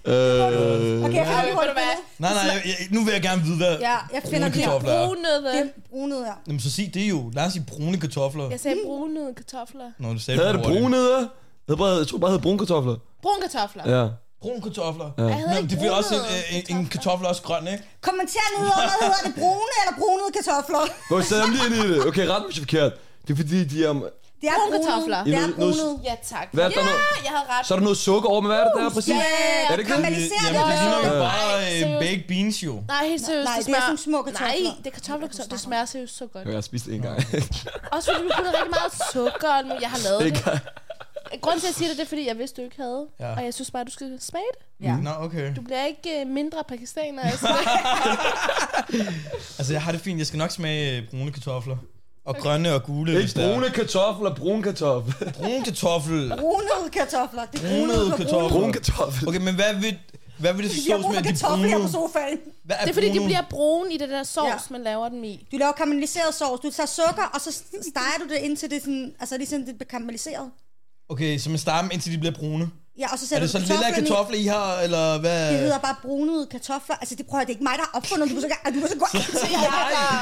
Øh, Okay, jeg finder Øh, lige ved du hurtigt, hvad? hvad Nej, det er. nej, jeg, jeg- nu vil jeg gerne vide, hvad... Ja, jeg finder Brune det her. kartofler. Brunede, Det hvad? er brunede her. Jamen så sig det jo. Lad os sige brune kartofler. Jeg sagde brunede kartofler. Nå, du sagde Havde det hurtigt. brune der? Jeg, bare, jeg tror bare, det hed brune kartofler. Brun kartofler. Ja. Brune kartofler. Jeg havde Nå, ikke det bliver også en, brunede en, en kartoffel også grøn, ikke? Kommenter ned under, hedder det brune eller brunede kartofler? Hvor jeg sad dem lige ind i det. Okay, ret mig hvis jeg er forkert. Det er fordi, de er... Det er Brune brunede. kartofler. Det er Noget- noget- brunede. Ja, tak. Hvad er der ja, noget- jeg havde ret. Så er der noget sukker over, men hvad er det der præcis? Ja, Er det ikke det? karamelliserede. Jamen, det ligner jo Ja. bare Ej, øh, seriøst. baked beans, jo. Nej, helt seriøst, nej, det det er smager... sådan små kartofler. Nej, det er kartofler, det smager seriøst så godt. Jo, jeg har spist det en gang. Også fordi du putter rigtig meget sukker, og alt muligt. jeg har lavet Ikke. det. Grunden til, at jeg siger det, det er, fordi jeg vidste, du ikke havde. Ja. Og jeg synes bare, du skal smage det. Ja. Nå, okay. Du bliver ikke øh, mindre pakistaner. Altså. Altså, jeg har det fint. Jeg skal nok smage øh, brune kartofler. Og grønne og gule, Ikke brune kartofler, brun kartoffel. Brune kartoffel. Brunede kartofler. Det er Brunede kartofler. Brun kartoffel. Okay, men hvad vil, hvad vil det Jeg sås med, bruger at de kartofler her brune? på sofaen. Hvad Det er fordi, de brune? bliver brune i det der sovs, Ja. man laver dem i. Du laver karamelliseret sovs. Du tager sukker, og så steger du det indtil det er sådan, altså ligesom det bliver karamelliseret. Okay, så man starter dem, indtil de bliver brune. Ja, og så Er sætter det du sådan lille kartoflerne i. kartofler, I har, eller hvad? Det hedder bare brunede kartofler. Altså, det prøver jeg, det er ikke mig, der har opfundet. Du må så, gøre- du må så gå ind til jer.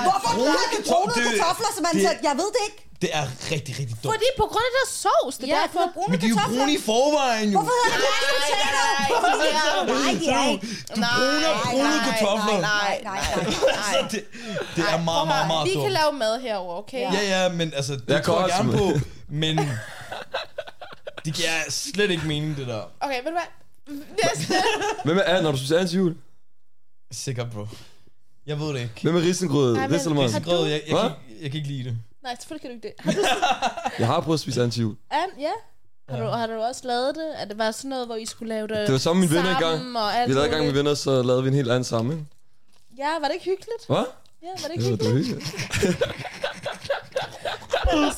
Hvorfor Brune bruger du brunede kartofler? Det- kartofler, som man det- siger, jeg ved det ikke. Det er rigtig, rigtig dumt. Fordi på grund af det der sovs, det er Ja, derfor... for brune Men de er jo kartofler. brune i forvejen, jo. Hvorfor hedder det brune kartofler? Hvorfor hedder det brune? Nej, de er ikke. Du bruner brune kartofler. Nej, nej, nej, nej. Så det, det er meget, meget, meget Vi dumt. kan lave mad herover, okay? Ja, ja, men altså, det Jeg jeg kan tror jeg også gerne med. på, men det giver slet ikke mening, det der. Okay, ved du hvad? Næste. Hvem er Anne? Har du spist Anne til jul? Sikkert, bro. Jeg ved det ikke. Hvem er risengrød? Ej, men- Ristelmann? Har Grød, jeg, jeg, Hvad? kan, ikke- jeg kan ikke lide det. Nej, selvfølgelig kan du ikke det. Har du, Jeg har prøvet at spise Anne til jul. um, ja. Har, du, har du også lavet det? At det var sådan noget, hvor I skulle lave det Det var sammen med mine venner engang. sammen og alt Vi lavede i gang med muligt? venner, så lavede vi en helt anden sammen, ikke? Ja, var det ikke hyggeligt? Hvad? Ja, var det Det ikke var da hyggeligt? hyggeligt. Så, Jamen,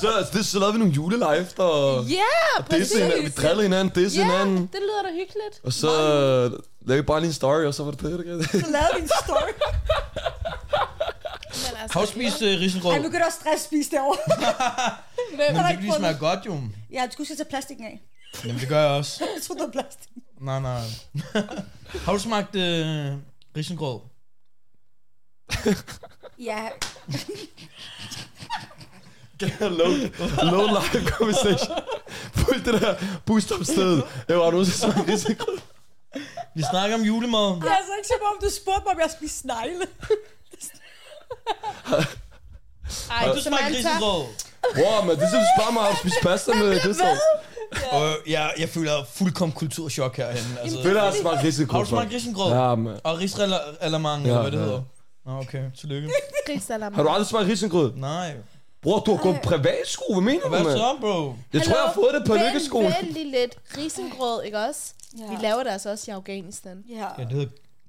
Så, altså, det, så lavede vi nogle julelive, og ja, præcis. disse hinanden, vi drillede hinanden, disse Ja, hinanden. det lyder da hyggeligt. Og så øh, lavede vi bare lige en story, og så var det det, der gjorde det. Så lavede vi en story. Men altså, Har du spist uh, risengrød? Han begynder at stress spise derovre. hvem? Men det ikke kan lige fundet. smage godt, jo. Ja, du skulle sætte plastikken af. Jamen, det gør jeg også. Jeg troede, det var plastik. Nej, nej. Har du smagt øh, risengrød? Ja, low, low life conversation. Fuldt det der boost up sted. Jeg var nu så smagt risengrød. Vi snakker om julemad. det er altså ikke som om, du spurgte mig, om jeg spiste snegle. Ej, Har du smagt risengrød? Wow, men det er simpelthen spørger mig, har du spist pasta med Christian? Og jeg, jeg føler fuldkommen kulturschok herhen. Altså, Fedt, at har smagt risengrød. har du smagt mand. risengrød? Ja, man. Og risalamang, eller Ja, hvad det ja. hedder. Nå, okay. Tillykke. Risalamande. Har du aldrig smagt risengrød? Nej. Bror, du har gået på privatsko. Hvad mener du, Hvad mand? så, bro? Jeg tror, jeg har fået det på vent, lykkeskolen. Vent lige lidt. Risengrød, ikke også? Ja. Vi laver det altså også i Afghanistan. Ja. Ja, det hedder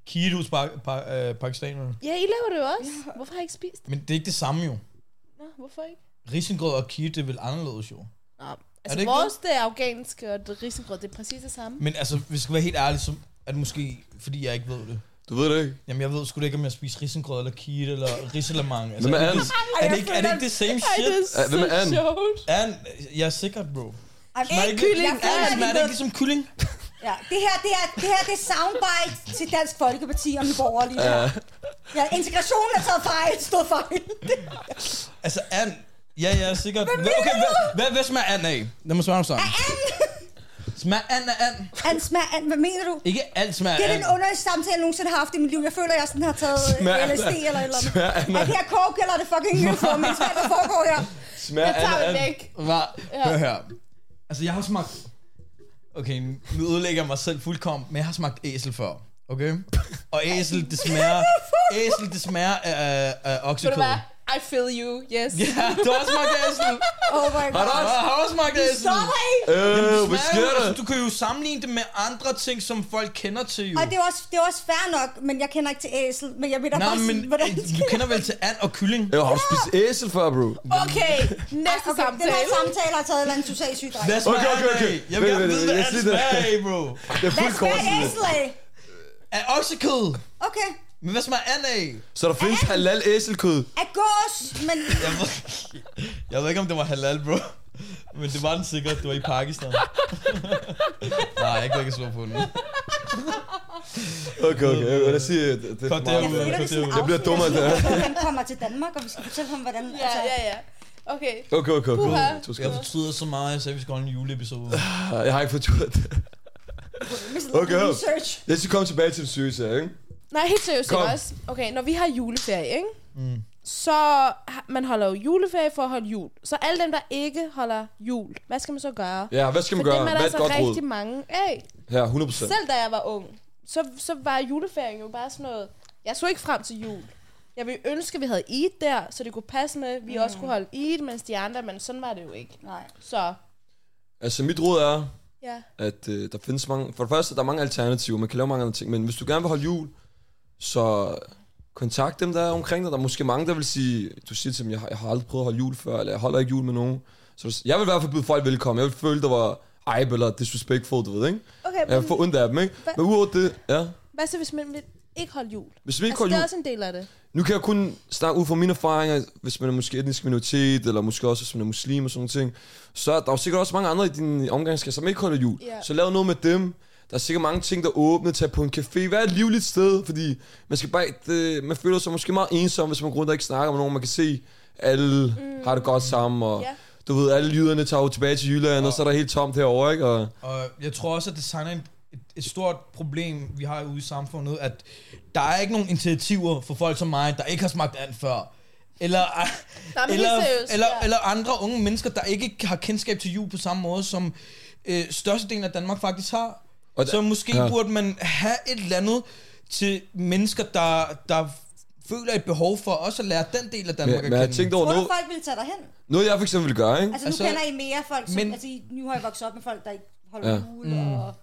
Kidos pak- pak- øh, pakistanerne. Ja, I laver det jo også. Hvorfor har I ikke spist det? Men det er ikke det samme, jo. Nå, hvorfor ikke? Risengrød og kid, det er vel anderledes, jo. Nå, altså det ikke vores, det er afghanske, og det risengrød, det er præcis det samme. Men altså, hvis jeg skal være helt ærlig, så er det måske, fordi jeg ikke ved det. Du ved det ikke. Jamen, jeg ved sgu da ikke, om jeg spiser risengrød eller kid eller risalamang. Altså, Hvem er er, Anne? er, det ikke, er det ikke det same Ej, det shit? er Hvem er så Anne? sjovt. An, jeg er sikkert, bro. Ej, Smager ikke det- kylling. Jeg Ja, fatter smager ikke det ikke noget. ligesom kylling? Ja, det her, det her, det her, det er soundbite til Dansk Folkeparti og Nye Borgerlige. Ja. ja, integrationen er taget fejl, stod fejl. Altså, and. Ja, ja, sikkert. Hvad, okay, hvad, hvad, hvad smager and af? Lad mig svare dig sammen. Smager and af and? Han smager, an- hvad mener du? Ikke alt smager Det er and. den underligste samtale, jeg nogensinde har haft i mit liv. Jeg føler, jeg sådan har taget øh, Smager LSD af- eller et eller andet. smager af- Er det her coke, eller er det fucking nye for mig? Hvad er der foregår her? Smager Jeg tager Anne Anne? det væk. Hva? Hør her. Altså, jeg har smagt... Okay, nu ødelægger jeg mig selv fuldkommen, men jeg har smagt æsel før. Okay? Og æsel, det smager... æsel, det smager af, af, af Ved du oksekød. hvad? Ej, I feel you, yes. Ja, det var også Mark Dassel. Oh my Har du god. Det også? var også Mark Dassel. Sorry! Øh, hvad smager sker jo- der? altså, Du kan jo sammenligne det med andre ting, som folk kender til jo. Og det er, også, det er også fair nok, men jeg kender ikke til æsel, men jeg mener Nej, bare men sige, hvordan... du kender vel til and og kylling? Øh, har du spist æsel før, bro? Okay, næste okay, Den her samtale. samtale har taget en eller anden social sygdom. Hvad smager okay, okay. det af? Jeg vil Vent, gerne vent, vide, vent, hvad jeg and siger det. smager af, bro. Det er Hvad fuldt skal kort. æsel af? Af oksekød. Okay. Men hvad smager and af? Så der findes halal æselkød. Af gås, men... Jeg ved, jeg ved ikke, om det var halal, bro. Men det var den sikkert. Det var i Pakistan. Nej, jeg kan ikke svare på det. Okay, okay. øh, Lad os sige, det, det er Godt, for det er Jeg meget. ude. føler, det er sådan Jeg bliver dummere, end det er. afsnit, han kommer til Danmark, og vi skal fortælle ham, hvordan... altså, Ja, ja, ja. Okay. Okay, okay, Puha. okay. To Jeg sekunder. fortryder så meget, at jeg sagde, at vi skal holde en juleepisode. Ah, Jeg har ikke fortjent det. Okay, hør. Research. Jeg skal komme tilbage til den syge sag, ikke? Nej, helt seriøst Kom. ikke også. Okay, når vi har juleferie, ikke? Mm. Så har- man holder jo juleferie for at holde jul. Så alle dem, der ikke holder jul, hvad skal man så gøre? Ja, hvad skal man For gøre? dem er der Hvad er et altså godt råd? rigtig mange af. Ja, 100 procent. Selv da jeg var ung, så, så var juleferien jo bare sådan noget... Jeg så ikke frem til jul. Jeg ville ønske, at vi havde Eid der, så det kunne passe med, at vi mm. også kunne holde Eid, mens de andre, men sådan var det jo ikke. Nej. Så, Altså, mit råd er, ja. at øh, der findes mange... For det første, der er mange alternativer. Man kan lave mange andre ting. Men hvis du gerne vil holde jul, så kontakt dem, der er omkring dig. Der er måske mange, der vil sige... Du siger til dem, jeg har, jeg har aldrig prøvet at holde jul før, eller jeg holder ikke jul med nogen. Så du- jeg vil i hvert fald byde folk velkommen. Jeg vil føle, der var ejb eller disrespectful, du ved, ikke? Okay, Jeg men får ondt af dem, ikke? Hva- Men udover det, ja. hvad så, hvis man vil ikke holde jul? Hvis vi ikke Altså, holder det jul... er også en del af det. Nu kan jeg kun snakke ud fra mine erfaringer, hvis man er måske etnisk minoritet, eller måske også, hvis man er muslim og sådan nogle ting. Så er der er jo sikkert også mange andre i din omgangskreds, som ikke holder jul. Ja. Så lav noget med dem. Der er sikkert mange ting, der er åbne. Tag på en café. Vær et livligt sted, fordi man, skal bare, det, man føler sig måske meget ensom, hvis man går rundt og ikke snakker med nogen. Man kan se, alle mm. har det godt sammen, og Ja. du ved, alle jyderne tager jo tilbage til Jylland, og så er der helt tomt herovre, ikke? Og, Og jeg tror også, at det tegner en, et, et stort problem, vi har ude i samfundet, at der er ikke nogen initiativer for folk som mig, der ikke har smagt and før. Eller, Nej, men eller, helt seriøst, eller, ja. eller andre unge mennesker, der ikke har kendskab til jul på samme måde, som øh, størstedelen af Danmark faktisk har. Og Og der- så måske ja. ja. burde man have et eller andet til mennesker, der, der føler et behov for også at lære den del af Danmark men, at men kende. jeg tænkte over Tror du, noget, folk ville tage dig hen? noget, jeg for eksempel vil gøre, ikke? Altså, nu Altså, kender I mere folk, som, men- Mm. altså, I- nu har I vokset op med folk, der ikke holder Ja. jul, og...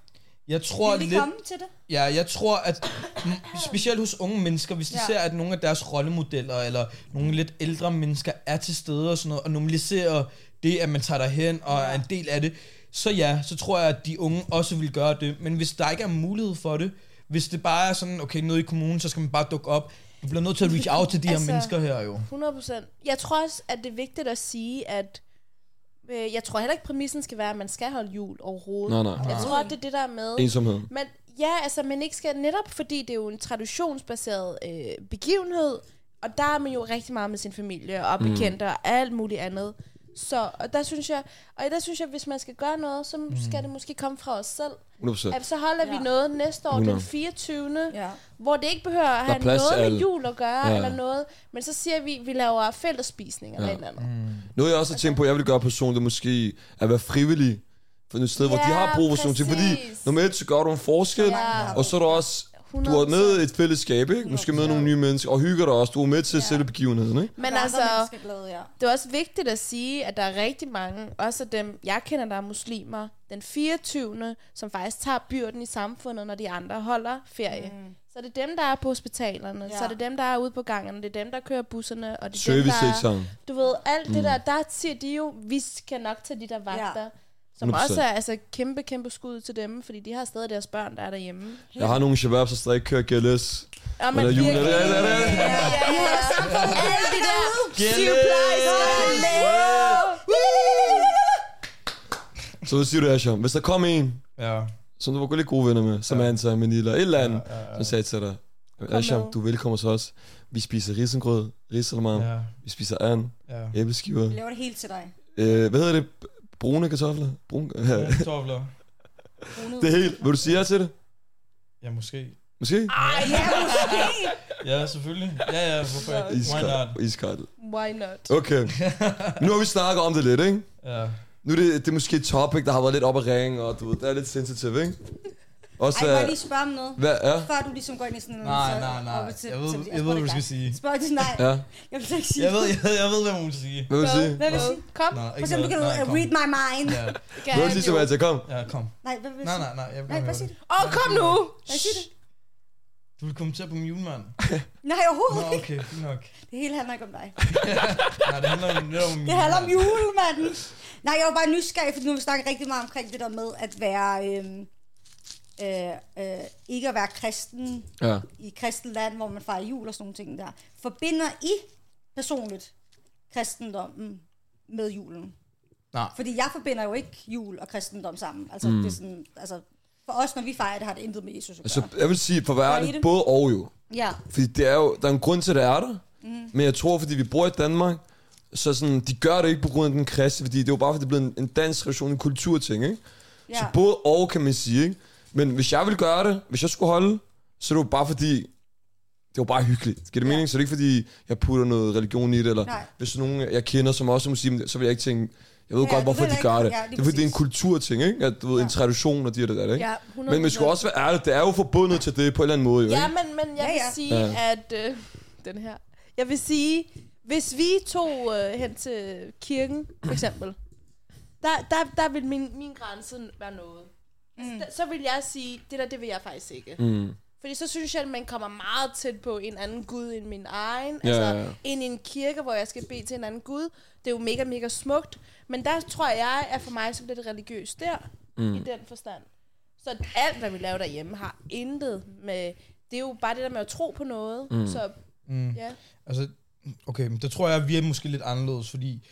jeg tror Vil I lidt, komme til det? Ja, jeg tror, at m- specielt hos unge mennesker, hvis de Ja. ja. ser, at nogle af deres rollemodeller, eller nogle lidt ældre mennesker, er til stede og sådan noget, og normaliserer det, at man tager derhen og er en del af det, så ja, så tror jeg, at de unge også vil gøre det. Men hvis der ikke er mulighed for det, hvis det bare er sådan, okay, nede i kommunen, så skal man bare dukke op. Du bliver nødt til at reach out til de altså, Altså- her mennesker her jo. 100 procent. Jeg tror også, at det er vigtigt at sige, at øh, jeg tror heller ikke, præmissen skal være, at man skal holde jul overhovedet. Nej, nej. Jeg tror, at det er det, der er med. Ensomhed. Men ja, altså, men ikke skal netop, fordi det er jo en traditionsbaseret øh, begivenhed, og der er man jo rigtig meget med sin familie Mm. og bekendte og alt muligt andet. Så og der synes jeg, og der synes jeg, hvis man skal gøre noget, så Mm. skal det måske komme fra os selv. 100%. At så holder ja. Ja. vi noget næste år den Hundrede. 24. Ja. Hvor det ikke behøver at er have plads noget til med alle. jul at gøre, Ja. ja. eller noget. Men så siger vi, at vi laver fællesspisning eller Ja. ja. et eller andet. Mm. Noget jeg også har tænkt på, jeg ville gøre personligt, det måske at være frivillig for et sted, ja, hvor de Ja, har brug for sådan noget. Fordi præcis. normalt så gør du en forskel, ja. Ja. og så er du også... Du er med i et fællesskab, ikke? Måske med nogle nye mennesker, og hygger dig også. Du er med til ja. selve begivenheden, ikke? Men Gør andre altså, mennesker glade, ja. det er også vigtigt at sige, at der er rigtig mange, også af dem, jeg kender, der er muslimer, den 24. som faktisk tager byrden i samfundet, når de andre holder ferie. Mm. Så det er dem, der er på hospitalerne, ja. Ja. så det er dem, der er ude på gangerne, det er dem, der kører busserne, og det er dem, der er, Servicesektoren. Du ved, alt mm. det der, der siger de jo, vi skal nok tage de der vagter. Ja. Som 100%. også er altså, kæmpe, kæmpe skud til dem, fordi de har stadig deres børn, der er derhjemme. Jeg har nogle shababs, der ikke kører GLS. Ja, Eller jul. Er det, er det, er det? Ja, ja, ja. Alle de der Så hvad siger du, Asham? Hvis der kom en, Ja. som du var lidt gode venner med, Samantha, Manila, et eller andet, som sagde til dig, Asham, med." du er velkommen hos os. Vi spiser risengrød, risalamande, Ja, vi spiser and, ja. æbleskiver, Vi laver det helt til dig. Øh, hvad hedder det? Brune kartofler? Brune... Kartofler. det er helt... Vil du sige ja til det? Ja, måske. Måske? Ah, Ej, ja, måske. Ja, selvfølgelig. Ja, ja, hvorfor ikke? Why Iskold. not? Iskold. Why not? Okay. Nu har vi snakket om det lidt, ikke? Ja. Nu er det, det er måske et topic, der har været lidt op ad ringen, og du ved, det er lidt sensitive, ikke? Også, Ej, må jeg øh, lige spørge om noget? Hvad, ja? Før du ligesom går ind i sådan en... Nej, så- nej, nej. op til- Jeg ved- til- jeg ved, spørger hvad du dig. skal sige. Spørg til nej. Ja. Jeg vil så ikke sige Jeg ved, det. jeg, ved- jeg ved, hvad hun vil sige. Hvad vil du Hvad? sige? Hvad vil du sige? Kom. Nej, For ikke eksempel, du noget. kan du Nej, kom. uh, read my mind. Ja, Gerne, Hvad vil du sige, jo. Sebastian? Kom. ja, kom. Nej, hvad vil du Nej, Øh, sige? nej, nej. Jeg vil Nej, gerne høre bare sig det. det. Åh, kom nu! Hvad siger det? Du vil kommentere på min julemand. Nej, Nå, overhovedet ikke. okay, fint nok. Det hele handler ikke om dig. Nej, det handler om, netop om min Det handler om julemand. julemanden. Nej, jeg var bare nysgerrig, fordi nu har vi snakket rigtig meget omkring det der med at være... Øhm, øh, øh, ikke at være kristen Ja. i et kristent land, hvor man fejrer jul og sådan nogle ting der. Forbinder I personligt kristendommen med julen? Nej. Fordi jeg forbinder jo ikke jul og kristendom sammen. Altså, mm. det er sådan, altså, for os, når vi fejrer det, har det intet med Jesus at Altså, gøre. jeg vil sige, for at være Gør I ærlig, det? både og jo. Ja. Fordi det er jo, der er en grund til, at det er der. Mm. Men jeg tror, fordi vi bor i Danmark, så sådan, de gør det ikke på grund af den kristne, fordi det er jo bare, fordi det er blevet en, en dansk tradition, en kulturting, ikke? ja. Så både og, kan man sige, ikke? Men hvis jeg ville gøre det, hvis jeg skulle holde, så er det jo bare fordi, det var bare hyggeligt. Giver det Ja. mening? Så det er ikke fordi, jeg putter noget religion i det, eller Nej. hvis nogen, jeg kender, som også er muslim, så vil jeg ikke tænke, jeg ved Ja, ja, godt, du hvorfor ved de ikke- gør det. ja, Ja, lige det er fordi, det er en præcis. kulturting, ikke? At, du ved, en tradition og det og det der, ikke? Ja, men man skal 100%. også være ærlig, det er jo forbundet til det på en eller anden måde, jo, Ja, ikke? men, men jeg Ja, ja, ja. ja. vil Ja. sige, ja. at... Øh, den her. Jeg vil sige, hvis vi tog øh, hen til kirken, for eksempel, der, der, der vil min, min grænse være noget. Mm. Så, så vil jeg sige, det der, det vil jeg faktisk ikke. Mm. Fordi så synes jeg, at man kommer meget tæt på en anden Gud end min egen. Ja, Ja, altså, ja, ja. ind i en kirke, hvor jeg skal bede til en anden Gud. Det er jo mega, mega smukt. Men der tror jeg, at for mig så bliver det religiøst der, mm. i den forstand. Så alt, hvad vi laver derhjemme, har intet med... Det er jo bare det der med at tro på noget. Mm. Så Mm. ja. Altså, okay, men der tror jeg, vi er måske lidt anderledes, fordi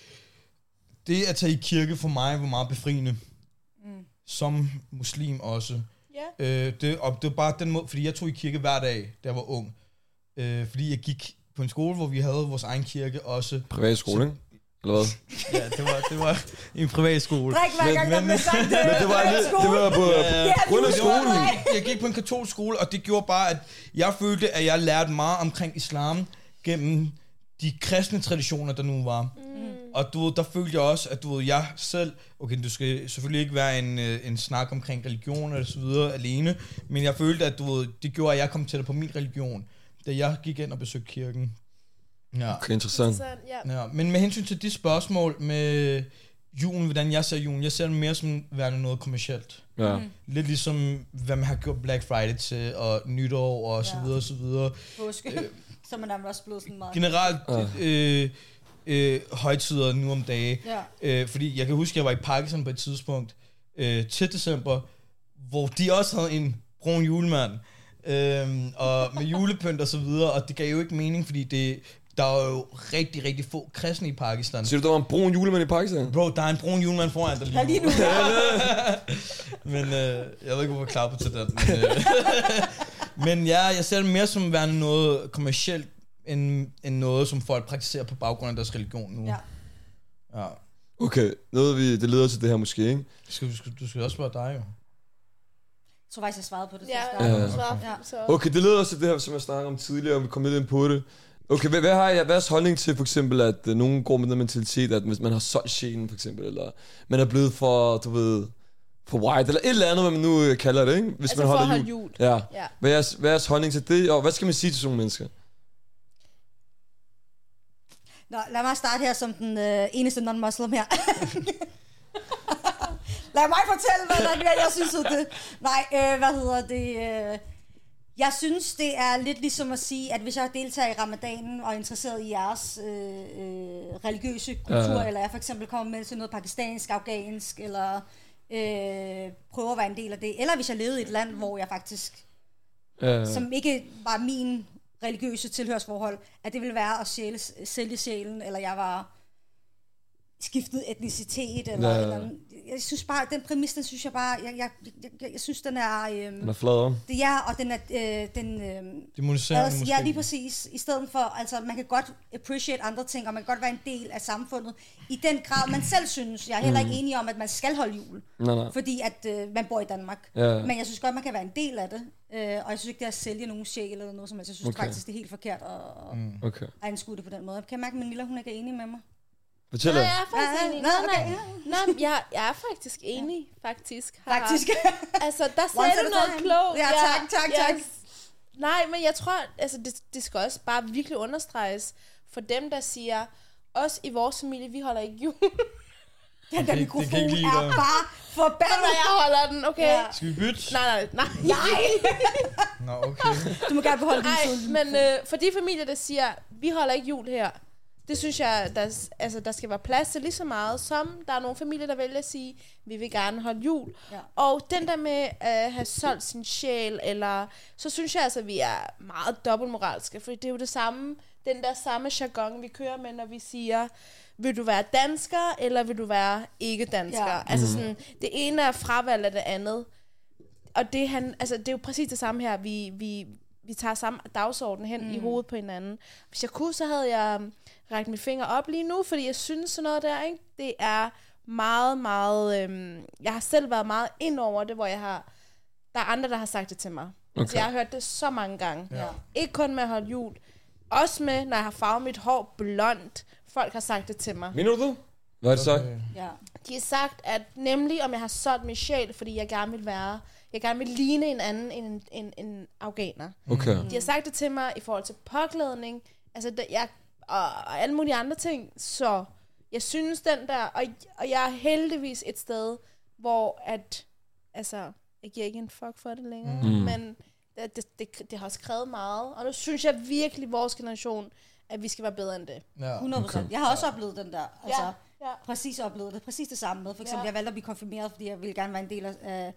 det at tage i kirke for mig var meget befriende. Mm. Som muslim også. Ja. Øh, det, og det var bare den måde, fordi jeg tog i kirke hver dag, da jeg var ung. Øh, fordi jeg gik på en skole, hvor vi havde vores egen kirke også. Privatskole, ikke? Eller hvad? Ja, det var, det var en privat skole. Drik hver Men- gang, der men- bliver sagt øh, det. Men det var, lidt, det var på Ja, det grund af var- skolen. Jeg gik på en katolsk skole, og det gjorde bare, at jeg følte, at jeg lærte meget omkring islam gennem de kristne traditioner, der nu var. Mm. Og du ved, der følte jeg også, at du ved, jeg selv, okay, du skal selvfølgelig ikke være en, øh, en snak omkring religion og så videre alene, men jeg følte, at du ved, det gjorde, at jeg kom tættere på min religion, da jeg gik ind og besøgte kirken. Ja. Okay, interessant. Så, ja. Ja, men med hensyn til de spørgsmål med julen, hvordan jeg ser julen, jeg ser den mere som værende noget kommercielt. Ja. Mm. Lidt ligesom, hvad man har gjort Black Friday til, og nytår, og så Ja. videre, og så videre. Påske. Så er man er også blevet sådan meget... Generelt øh, øh, højtider nu om dage. Ja. Øh, fordi jeg kan huske, jeg var i Pakistan på et tidspunkt øh, til december, hvor de også havde en brun julemand. Øhm, og med julepynt og så videre, og det gav jo ikke mening, fordi det, der er jo rigtig, rigtig få kristne i Pakistan. Siger du, der var en brun julemand i Pakistan? Bro, der er en brun julemand foran dig Ja, lige lige nu. Men øh, jeg ved ikke, hvorfor jeg klapper til den. Men, øh, men ja, jeg ser det mere som værende noget kommercielt, end, end noget, som folk praktiserer på baggrund af deres religion nu. Ja. ja. Okay, noget vi, det leder til det her måske, ikke? Du, skal, du, skal, du skal også spørge dig, jo. Jeg tror faktisk, jeg svarede på det. Ja, sidste. ja. Så, Ja. så. Okay, det leder også til det her, som jeg snakkede om tidligere, og vi kom lidt ind på det. Okay, hvad, hvad har jeg, hvad er jeres holdning til for eksempel, at uh, nogen går med den mentalitet, at hvis man har solgt sjælen for eksempel, eller man er blevet for, du ved, for white, eller et eller andet, hvad man nu øh, kalder det, ikke? Hvis Altså man for holder at holde jul. Ja. Ja. Hvad er, jeres, hvad er jeres holdning til det, og hvad skal man sige til sådan nogle mennesker? Nå, lad mig starte her som den øh, eneste non-muslim her. lad mig fortælle, hvordan jeg, jeg synes om det. Nej, øh, hvad hedder det? Øh, jeg synes, det er lidt ligesom at sige, at hvis jeg deltager i ramadanen og er interesseret i jeres øh, øh, religiøse kultur, Ja. ja. eller jeg for eksempel kommer med til noget pakistansk, afghansk, eller øh, prøver at være en del af det, eller hvis jeg levede i et land, hvor jeg faktisk Ja. som ikke var min religiøse tilhørsforhold, at det ville være at sjæle, sælge sjælen, eller jeg var skiftet etnicitet, eller, Ja. ja. eller andet. jeg synes bare, den præmis, den synes jeg bare, jeg, jeg, jeg, jeg, jeg synes, den er, øhm, Man er flad om. det er, og den er, øh, den, øhm, Det monetisere Aders, altså, måske. ja, lige præcis. I stedet for, altså, man kan godt appreciate andre ting, og man kan godt være en del af samfundet. I den grad, man selv synes. Jeg er heller Mm. ikke enig om, at man skal holde jul. Nej, nej. Fordi at øh, man bor i Danmark. Ja. Men jeg synes godt, man kan være en del af det. Øh, og jeg synes ikke, det er at sælge nogen sjæl eller noget som helst. Jeg synes Okay. okay. faktisk, det er helt forkert at, mm. Okay. at anskue det på den måde. Kan jeg mærke, at Mila, hun ikke er enig med mig? Fortæl Nå, os. jeg er faktisk Ja, ja. enig. Nå, Nej, nej. okay, ja. Nej, men jeg, jeg er faktisk enig, faktisk. Haha. Faktisk. Altså, der Once sagde at du a noget time. klogt. Ja, tak, tak, tak. Nej, men jeg tror, altså, det, det skal også bare virkelig understreges for dem, der siger, os i vores familie, vi holder ikke jul, Den der kan ikke- det kan mikrofon ikke lide er dig. bare når forbandet. jeg holder den, okay? Ja. Ja. Skal vi bytte? Nej, nej, nej. Nej, Nå, okay. du må gerne beholde din Nej, sol. men øh, for de familier, der siger, vi holder ikke jul her, det synes jeg, der, altså, der skal være plads til lige så meget, som der er nogle familier, der vælger at sige, vi vil gerne holde jul. Ja. Og den der med at øh, have solgt sin sjæl, eller, så synes jeg altså, at vi er meget dobbeltmoralske, for det er jo det samme, den der samme jargon, vi kører med, når vi siger, vil du være dansker, eller vil du være ikke dansker? Ja. Ja. Altså sådan, det ene er fravalg af det andet og det, han, altså, det er jo præcis det samme her. Vi, vi, vi tager samme dagsorden hen mm. i hovedet på hinanden. Hvis jeg kunne, så havde jeg um, rækket mine fingre op lige nu, fordi jeg synes sådan noget der, ikke? det er meget, meget... Øhm, jeg har selv været meget ind over det, hvor jeg har... Der er andre, der har sagt det til mig. Okay. Altså, jeg har hørt det så mange gange. Ja. Ikke kun med at holde jul. Også med, når jeg har farvet mit hår blondt. Folk har sagt det til mig. Mener du det? Hvad har de sagt? Ja. De har sagt, at nemlig om jeg har solgt min sjæl, fordi jeg gerne vil være, jeg gerne vil ligne en anden end en, en, en afghaner. Okay. De har sagt det til mig i forhold til påklædning, altså der, jeg, og, og alle mulige andre ting, så jeg synes den der, og, og jeg er heldigvis et sted, hvor at, altså, jeg giver ikke en fuck for det længere, mm. men det, det, det, det har også krævet meget, og nu synes jeg virkelig, vores generation, at vi skal være bedre end det. Ja. 100%. Jeg har også oplevet den der. Altså, Ja, ja. Præcis oplevet det. Præcis det samme med. For eksempel, Ja. jeg valgte at blive konfirmeret, fordi jeg ville gerne være en del af...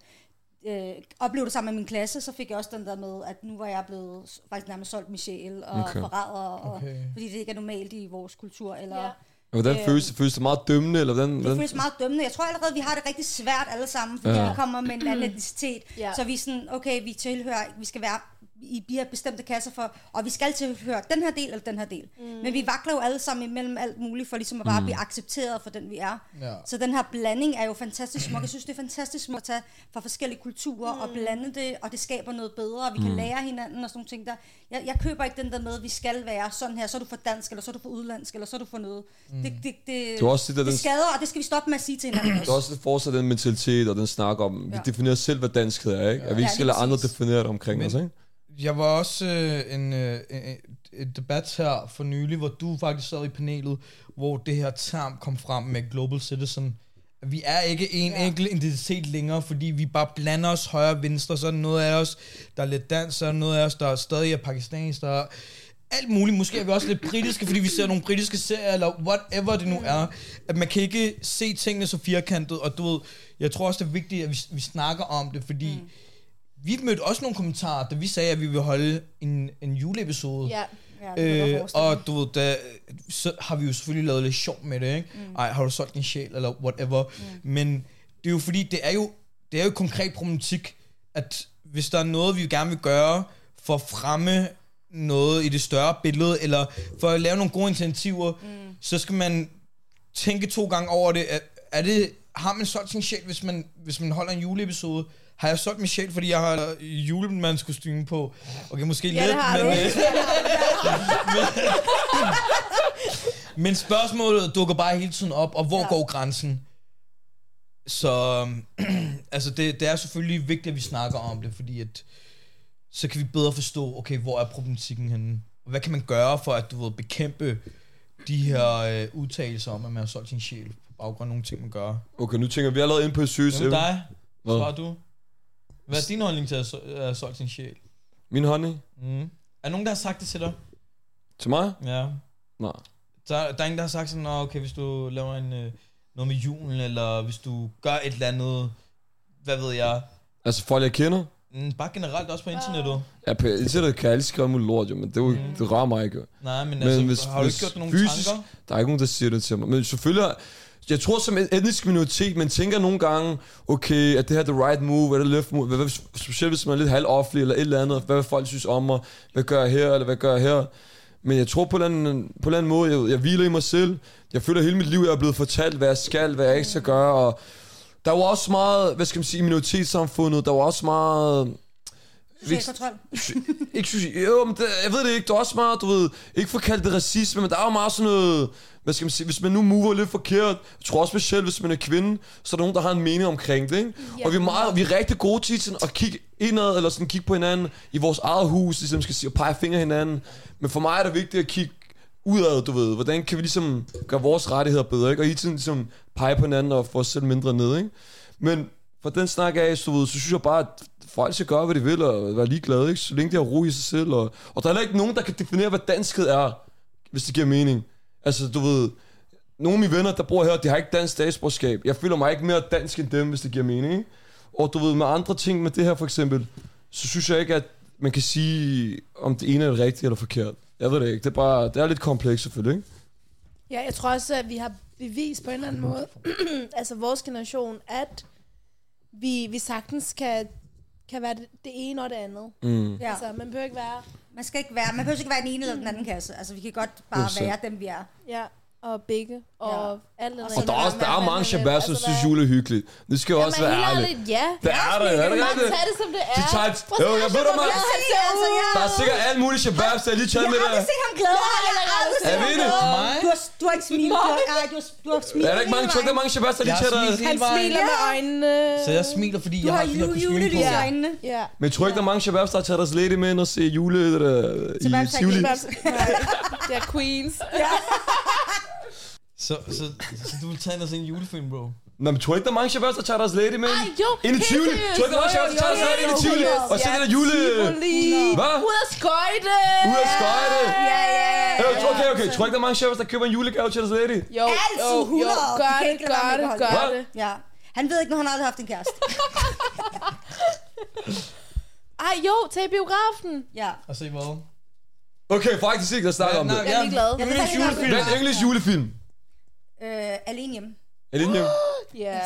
Øh, øh, oplevede det sammen med min klasse, så fik jeg også den der med, at nu var jeg blevet s- faktisk nærmest solgt Michelle og Okay. okay. forræder, og, Okay. okay. fordi det ikke er normalt i vores kultur. Eller, Ja. ja. Hvordan Øh, føles det? Føles det meget dømmende? Eller hvordan, Det hvordan? føles meget dømmende. Jeg tror allerede, vi har det rigtig svært alle sammen, fordi Ja. ja. vi kommer med en anden etnicitet. Ja. Ja. Så vi er sådan, okay, vi tilhører, vi skal være i de her bestemte kasser for, og vi skal tilhøre den her del eller den her del. Mm. Men vi vakler jo alle sammen imellem alt muligt, for ligesom at bare mm. blive accepteret for den, vi er. Ja. Så den her blanding er jo fantastisk smuk. Jeg synes, det er fantastisk smuk at tage fra forskellige kulturer mm. og blande det, og det skaber noget bedre, og vi kan mm. lære hinanden og sådan nogle ting der. Jeg, jeg køber ikke den der med, at vi skal være sådan her, så er du for dansk, eller så er du for udlandsk, eller så er du for noget. Mm. Det, det, det, Det er også det, der det den- skader, og det skal vi stoppe med at sige til hinanden Der også. er også fortsat den mentalitet og den snak om, vi Ja. definerer selv, hvad danskhed er, ikke? At vi ikke Ja, skal lige lade andre præcis. definere det omkring Men- os, ikke? Jeg var også øh, en, øh, en, en debat her for nylig, hvor du faktisk sad i panelet, hvor det her term kom frem med Global Citizen. Vi er ikke en ja. enkelt identitet længere, fordi vi bare blander os højre og venstre. Så er der noget af os, der er lidt dansk, så er der noget af os, der er stadig er pakistansk, der er alt muligt. Måske er vi også lidt britiske, fordi vi ser nogle britiske serier, eller whatever det nu er. At man kan ikke se tingene så firkantet, og du ved, jeg tror også, det er vigtigt, at vi, vi snakker om det, fordi... Mm vi mødte også nogle kommentarer, da vi sagde, at vi ville holde en, en juleepisode. Ja. Ja, det kan jeg Øh, godt forestille mig. og du ved, da, så har vi jo selvfølgelig lavet lidt sjov med det, ikke? Mm. Ej, har du solgt din sjæl, eller whatever. Mm. Men det er jo fordi, det er jo, det er jo et konkret problematik, at hvis der er noget, vi gerne vil gøre for at fremme noget i det større billede, eller for at lave nogle gode initiativer, mm. så skal man tænke to gange over det. Er, er det har man solgt sin sjæl, hvis man, hvis man holder en juleepisode? Har jeg solgt min sjæl, fordi jeg har julemandskostyme på? Okay, måske Ja, lidt, det har men... du. øh, Men spørgsmålet dukker bare hele tiden op, og hvor ja. Ja. går grænsen? Så altså det, det er selvfølgelig vigtigt, at vi snakker om det, fordi at, så kan vi bedre forstå, okay, hvor er problematikken henne? Og hvad kan man gøre for at du ved, bekæmpe de her øh, udtalelser om, at man har solgt sin sjæl på baggrund af nogle ting, man gør? Okay, nu tænker jeg, vi er allerede inde på et seriøst Hvem er emne. dig? Hvad? Svarer du? Hvad er din holdning til at so- at have solgt sin sjæl? Min honning? Mm. Er der nogen, der har sagt det til dig? Til mig? Ja. Nej. Der, der er ingen, der har sagt sådan, "Nå, okay, hvis du laver en, øh, noget med julen, eller hvis du gør et eller andet, hvad ved jeg. Altså folk, jeg kender? Mm, bare generelt også på internettet. Ja, på internettet kan jeg altid skrive muligt lort, jo, men det, er jo, mm. det rører mig ikke. jo. Nej, men, men altså, hvis, hvis- har du ikke hvis gjort nogle fysisk- tanker? Der er ikke nogen, der siger det til mig. Men selvfølgelig, er- jeg tror som en etnisk minoritet, man tænker nogle gange, okay, er det her the right move, er det left move, hvad, hvad, specielt hvis man er lidt halvoffentlig eller et eller andet, hvad vil folk synes om mig, hvad gør jeg her, eller hvad gør jeg her. Men jeg tror på en eller anden, på en eller anden måde, jeg, jeg hviler i mig selv. Jeg føler hele mit liv, jeg er blevet fortalt, hvad jeg skal, hvad jeg ikke skal gøre, og der var også meget, hvad skal man sige, i minoritetssamfundet, der var også meget Social kontrol. ikke synes, jo, men det, jeg ved det ikke, det er også meget, du ved, ikke for at kalde det racisme, men der er jo meget sådan noget, hvad skal man sige, hvis man nu mover lidt forkert, jeg tror også specielt, hvis man er kvinde, så er der nogen, der har en mening omkring det, ikke? Ja. Og vi er, meget, vi er rigtig gode til sådan at kigge indad, eller sådan kigge på hinanden i vores eget hus, ligesom skal sige, og pege fingre af hinanden. Men for mig er det vigtigt at kigge udad, du ved, hvordan kan vi ligesom gøre vores rettigheder bedre, ikke? Og hele tiden ligesom pege på hinanden og få os selv mindre ned, ikke? Men for den snak af, så, du ved, så synes jeg bare, at folk skal gøre, hvad de vil, og være ligeglade, ikke? Så længe de har ro i sig selv. Og, og der er heller ikke nogen, der kan definere, hvad danskhed er, hvis det giver mening. Altså, du ved, nogle af mine venner, der bor her, de har ikke dansk statsborgerskab. Jeg føler mig ikke mere dansk end dem, hvis det giver mening, ikke? Og du ved, med andre ting, med det her for eksempel, så synes jeg ikke, at man kan sige, om det ene er rigtigt eller forkert. Jeg ved det ikke. Det er bare, det er lidt komplekst selvfølgelig, ikke? Ja, jeg tror også, at vi har bevis på en eller anden måde, altså vores generation, at vi, vi sagtens kan, kan være det, det ene og det andet. Mm. Ja. Altså, man behøver ikke være... Man skal ikke være, man behøver ikke være den ene eller den anden kasse. Altså, vi kan godt bare Det er være dem, vi er. Ja, og begge, og ja. altså, alt det Og Og der er også der er mange shababs, som synes, jo jule er hyggeligt. Det skal jo også være ærligt. Ja, Det er der, er det man ikke tager det? det, som det er. De tager et- Prøv at Jo, se, jeg ved da, hvor man- glad han ser Altså, ud. ja. Der er sikkert alle mulige shababs, der er lige taget Jeg med har der. aldrig set ham glade. Jeg har Jeg har aldrig aldrig set Er ham vi glade. det? Mig? Du har, du har ikke smilet. Du har, ej, du har, du har smilet. Er der ikke mange, tror du, der er mange shababs, der Jeg lige tager smiler der? Han hele vejen. smiler med øjnene. Så jeg smiler, fordi Du jeg har har det der julet kostyme i på. øjnene. Ja. Men tror du ikke, der er mange shababs, der har taget deres lady med ind og se jule der, i Shababs har ikke Tivoli? shababs. Det er Queens. Så, så, så du vil tage ind og se en julefilm, bro. Nå, men tror du ikke, der er mange shababs, der tager deres lady med Ej, jo. ind i helt Tivoli? seriøst. Tror du ikke, der er mange shababs, der tager deres lady ind i Tivoli? Og så det der jule... Tivoli. Hvad? Ud at skøjte. Ud af skøjte. Ja, ja, ja. Øh, Okay, okay. Tror du ikke, der er mange shababs, der køber en julegave til deres lady? Jo, Altid jo, jo, gør 100. Du kan det, ikke lade gør være med det, at gør holde. det. Ja. Han ved ikke, når han aldrig har haft en kæreste. Ej, jo, tag i biografen. Ja. Og se hvad? Okay, faktisk ikke, der snakker om det. Jeg er ligeglad. Jeg ved faktisk ikke, om Hvad er det en engelsk julefilm? er- Øh, alene hjemme. Er det en hjem? Ja.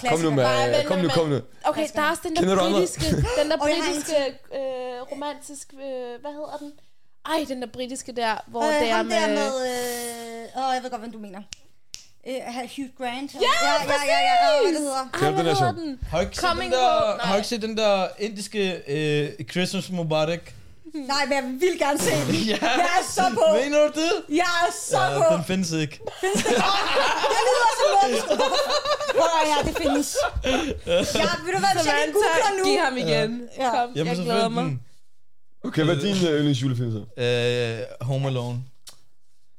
Klassiker. Kom nu med, Bare vent kom nu, med. kom nu. Okay, der er også den Kender der du andre? britiske, den der Og jeg har en britiske øh, romantisk, øh, hvad hedder den? Ej, den der britiske der, hvor Og det er Øh, ham der med... med... Øh, åh, jeg ved godt, hvem du mener. Øh, Hugh Grant. Ja, præcis! Åh, hvad det hedder. Ej, Kender du hvad den der hedder så? den? Har I ikke set den Coming home. der, Nej. har I ikke set den der indiske øh, Christmas Mubarak? Nej, men jeg vil gerne se den. Ja. Jeg er så på. Mener du det? Jeg er så på. den findes ikke. Det lyder som noget. Hvor er jeg? Det findes. Ja, ved du hvad, hvis jeg lige googler nu. giv ham igen. Ja. Kom, jeg så glæder find mig. den. Okay, hvad er din øh, yndlingsjulefilm så? Øh, Home Alone.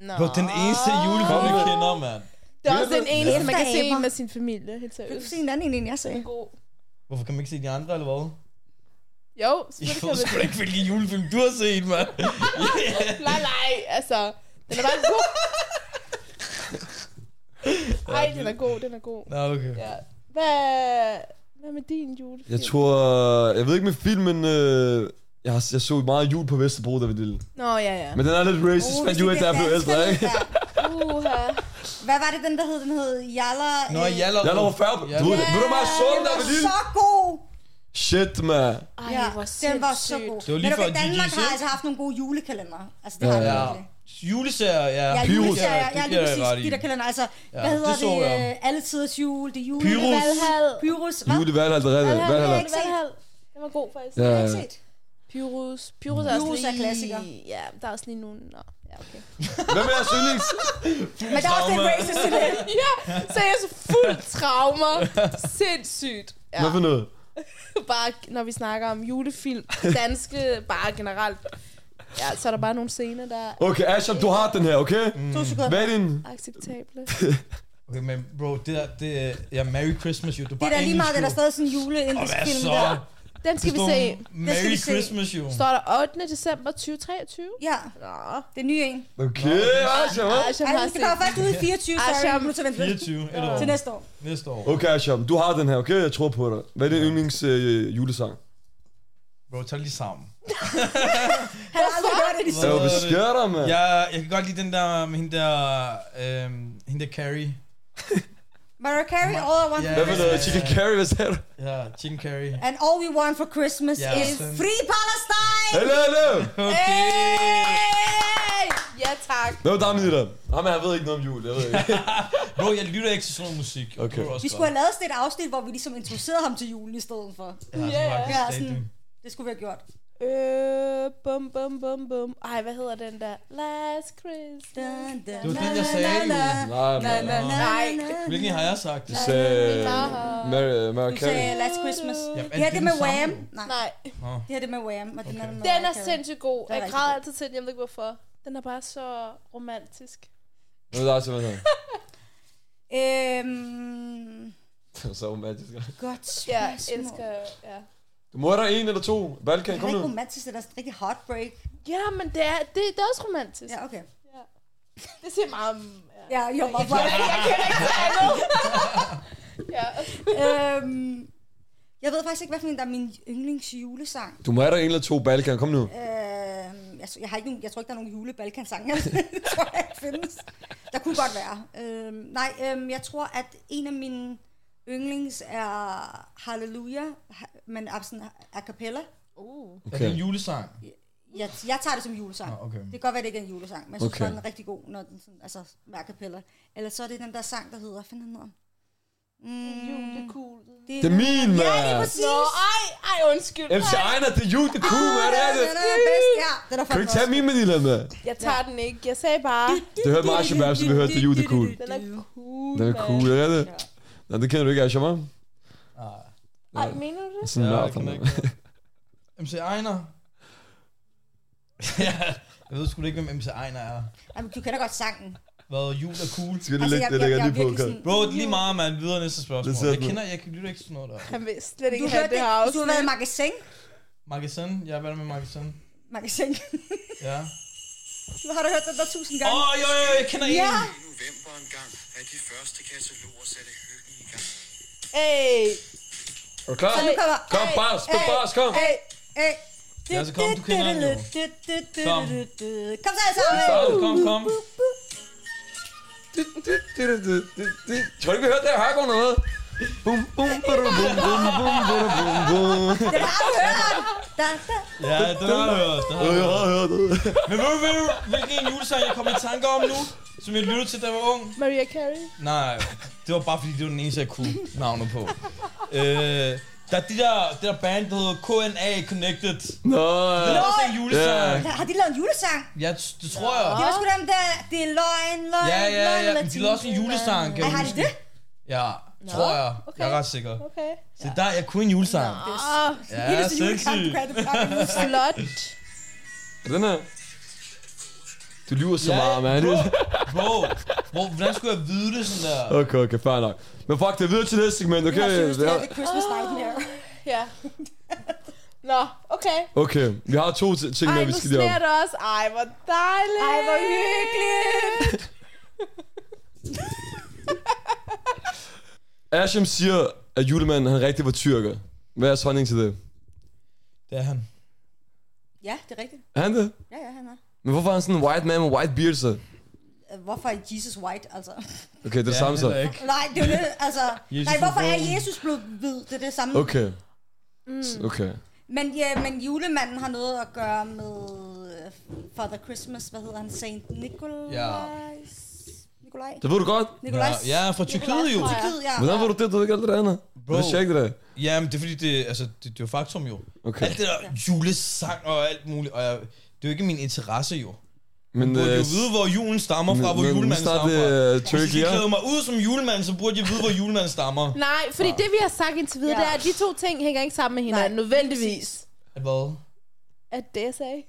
Nå. Bro, den eneste Ah. julefilm, jeg kender, mand. Det er også den eneste, man kan Efteraber. se med sin familie. Helt Vil du seriøst. se en anden en, end jeg sagde? God. Hvorfor kan man ikke se de andre, eller hvad? Jo, Jeg selvfølgelig kan ved man sgu da ikke, hvilken julefilm du har set, mand. Nej, nej, altså. Den er bare god. Ej, den er god, den er god. Nå, okay. Ja. Hvad, hvad med din julefilm? Jeg tror... Jeg ved ikke med filmen... Øh, jeg, har, jeg så meget jul på Vesterbro, da vi lille. Nå, ja, ja. Men den er lidt racist, fandt jeg Uh, hvis ud det af, da jeg blev bliver ældre, dansk, ikke? så er det der. Uha. Hvad var det, den der hed? Den hed Jalla... Nå, øh, Jallerup. Jeg lå færdig. Ja. Du ved det. Ved du meget så, da Den vi var lille? så god. Shit, man. Ej, Ja, hvor den var så sindssygt. god. Det var lige Men okay, før Danmark GG's, har ikke? altså haft nogle gode julekalender. Altså, det Ja. har det Ja. virkelig. Juleserier, ja. Ja, Pyrus. juleserier. Det Ja, giver lige jeg ret præcis. i. De der kalender, altså, Ja, hvad hedder det så det? jeg. øh, Alle tiders jul, det er jul. Pyrus. Valhall. Pyrus, hvad? Jule, hvad er det? Valhall. Hvad er det? Valhall. Valhall. Den var god, faktisk. Ja, Har ja. jeg set? Pyrus. Pyrus er også Pyrus er lige... klassiker. Ja, der er også lige nogle... Nå, ja, okay. Hvem er jeres yndlings? Men der er også lidt racist i det. ja, så jeg er så fuld traumer. Sindssygt. Ja. Hvad for noget? bare, når vi snakker om julefilm, danske, bare generelt. Ja, så er der bare nogle scener, der er Okay, Ashab, du har den her, okay? To Mm. sekunder. Hvad er din? acceptable. Okay, men bro, det der, det er ja, Merry Christmas, jo. Du Det er da lige meget, det er der stadig sådan en Og juleindisk hvad film så? der. Den skal vi Stå- se. skal Merry vi se. Christmas, jo. Står der 8. december 2023? Ja, Nå. det er nye en. Okay, Ashab, hva'? Asham Ej, har den set. kommer først ud i 24, sorry. Asham. Nu tager vent lidt. 24, et år. Til næste år. Næste år. Okay, Ashab, du har den her, okay? Jeg tror på dig. Hvad er din yndlings øh, julesang? Bro, tag lige sammen. Han har aldrig gjort det i Så så. hvad sker der, mand? Jeg, jeg kan godt lide den der med hende der, øhm, hende der Carrie. Mariah Carey, all I want Ja. for Hvad for noget? Ja. Chicken curry, hvad sagde du? Ja, Chicken Carrie. And all we want for Christmas Ja, is sådan. free Palestine! Hallo, hallo! Okay. Hey! Ja, tak. Hvad var der med dig? Jamen, jeg ved ikke noget om jul, jeg ved ikke. Bro, jeg lytter ikke til sådan noget musik. Det Okay. var også Vi skulle godt. have lavet sådan et afsnit, hvor vi ligesom introducerede ham til julen i stedet for. Ja, Ja, sådan, ja, faktisk sådan. rigtigt. Det skulle vi have gjort. Øh, bum, bum, bum, bum. Ej, hvad hedder den der? Last Christmas. Det var den, jeg sagde, jo. Nej, nej, nej. Nej, Hvilken har jeg sagt? Du sagde øh, Aha. Mary, Mary Du Carey. sagde Last Christmas. Jamen, Det her det er med den Wham. samme? Nej, nej. det her det er med Wham. Og den, er med Den er Mariah Carey. sindssygt god. er Jeg rigtig græder god. altid til den, jeg ved ikke hvorfor. Den er bare så romantisk. Nu er det også sådan. Øhm, Det var så romantisk. godt Ja, jeg spørgsmål. elsker... Ja. Du må da en eller to. Balkan, Det kom er ikke nu. romantisk, det er sådan rigtig heartbreak. ja, men det er, det, det er også romantisk. Ja, Ja. okay. Det siger meget om... Ja. Ja, jo, hvor hvor- ja. øhm, jeg ved faktisk ikke, hvad for en, der er min yndlingsjulesang. Du må have da en eller to Balkan, kom nu. Øhm, jeg, jeg, har ikke nogen, jeg tror ikke, der er nogen julebalkansange. det tror jeg ikke findes. Der kunne godt være. Øhm, nej, øhm, jeg tror, at en af mine yndlings er Hallelujah, ha- men er sådan a cappella. Uh. Er det en julesang? Jeg, jeg tager det som julesang. Nå, okay. Det kan godt være, det ikke er en julesang, men jeg synes, Ah, Okay. okay. den er rigtig god, når den sådan, altså, med a cappella. Eller så er det den der sang, der hedder, hvad fanden hedder den? Mm, Julekuglen. Det er min, Ja, lige mand. præcis. Nå, ej, ej, undskyld. MC Ejner, det er jul, det er cool, mand. Det er det. Den er bedst, ja. Den er Kan du ikke tage min med Dylan, mand? Jeg tager den ikke. Jeg sagde bare, Det hørte Marshall Babs, vi hørte, det er jul, det er cool. den er cool. Det er mand. cool, det er det. Nej, det kender du ikke, Asher, hva'? Nej. Ej, mener du det? Sådan en mørk. jeg ikke. MC Ejner. ja, jeg ved sgu da ikke, hvem MC Ejner er. Jamen, du kender godt sangen. Altså, Hvad jul er cool. Skal det lægge, det lægger lige på, kan. Bro, det er lige meget, mand. Videre næste spørgsmål. Det ser Jeg du. kender, jeg kan lytte ikke sådan noget der. Han vil slet Du ikke har have det her du har været i afsnit. magasin. Magasin? Ja, hvad er der med Magasin? Magasin. Ja. Nu har du hørt den der tusind Åh, gange. oh, jo, jo, jo, jeg kender Ja, en. I november engang, at de første kataloger satte hyggen i gang. Ey, Er du klar? og nu kommer... Kom, bars, kom, bars, kom. Ey, ey. Ja, så kom, du kender den jo. Kom. Kom så alle sammen. Kom, kom, kom. Tror du ikke, vi hørte det her hardcore noget? Bum, bum, bum, bum, bum, bum, bum, bum, bum. Da, da. Ja, den har jeg hørt. Den Ja, har jeg Øh, jeg hørt. har hørt det. Men ved du, ved du, hvilken en julesang jeg kom i tanke om nu? Som jeg lyttede til, da jeg var ung? Maria Carey. Nej, det var bare fordi, det var den eneste, jeg kunne navne på. Øh, der er de der, det der band, der hedder KNA Connected. Nå, øh, Det er også en julesang. Har de lavet en julesang? Ja, t- det tror jeg. Det var sgu dem der, det er løgn, løgn, Ja, ja, løgn, ja. Men de latin. lavede også en julesang. kan Ej, jeg har de huske. det? Ja, tror jeg. okay. Jeg er ret sikker. Okay. Ah. Så der, jeg kunne en julesang. Åh, Ja, Det er så sexy. julekamp, du kan det bare med julesang. flot. Er den her? Du lyver så Ja, meget, mand. bro. Bro, bro, hvordan skulle jeg vide det sådan der? Okay, okay, fair nok. Men fuck, det er videre til næste segment, Jeg okay? synes, det er The Christmas Nightmare. Ja. Nå, okay. Okay, vi har to t- ting Ej, mere, vi nu skal lige sneer op. det også. Ej, hvor dejligt. Ej, hvor hyggeligt. Asham siger, at julemanden han rigtig var tyrker. Hvad er jeres holdning til det? Det er han. Ja, det er rigtigt. Er han det? Ja, ja, han er. Men hvorfor er han sådan en white man med white beard så? Øh, Hvorfor er Jesus white, altså? Okay, det er det samme så. heller ikke. Nej, det er jo det, altså... Jesus nej, hvorfor er er brun. Jesus blevet hvid? Det er det samme. Okay. S- Okay. Men, ja, men julemanden har noget at gøre med øh, Father Christmas. Hvad hedder han? Saint Nicholas? Ja. Nikolaj? Det ved du godt. Ja, Nikolajs? ja, fra Tyrkiet jo. Tyrkiet, ja. Hvordan ved du det? Du ved ikke alt det andet. Bro. Bro. Det er ikke det der. Jamen, det er fordi, det, altså, det, det er jo faktum jo. Okay. Alt det der julesang og alt muligt, og jeg, det er jo ikke min interesse jo. Men Du burde øh, jo vide, hvor julen stammer fra, hvor men- men julemanden snart, stammer fra. øh, Hvis Turkey, de ja. klæder mig ud som julemand, så burde jeg vide, hvor julemanden stammer. Nej, fordi det vi har sagt indtil videre, Ja. det er, at de to ting hænger ikke sammen med hinanden, Nej, nødvendigvis. At Hvad? At det, jeg sagde.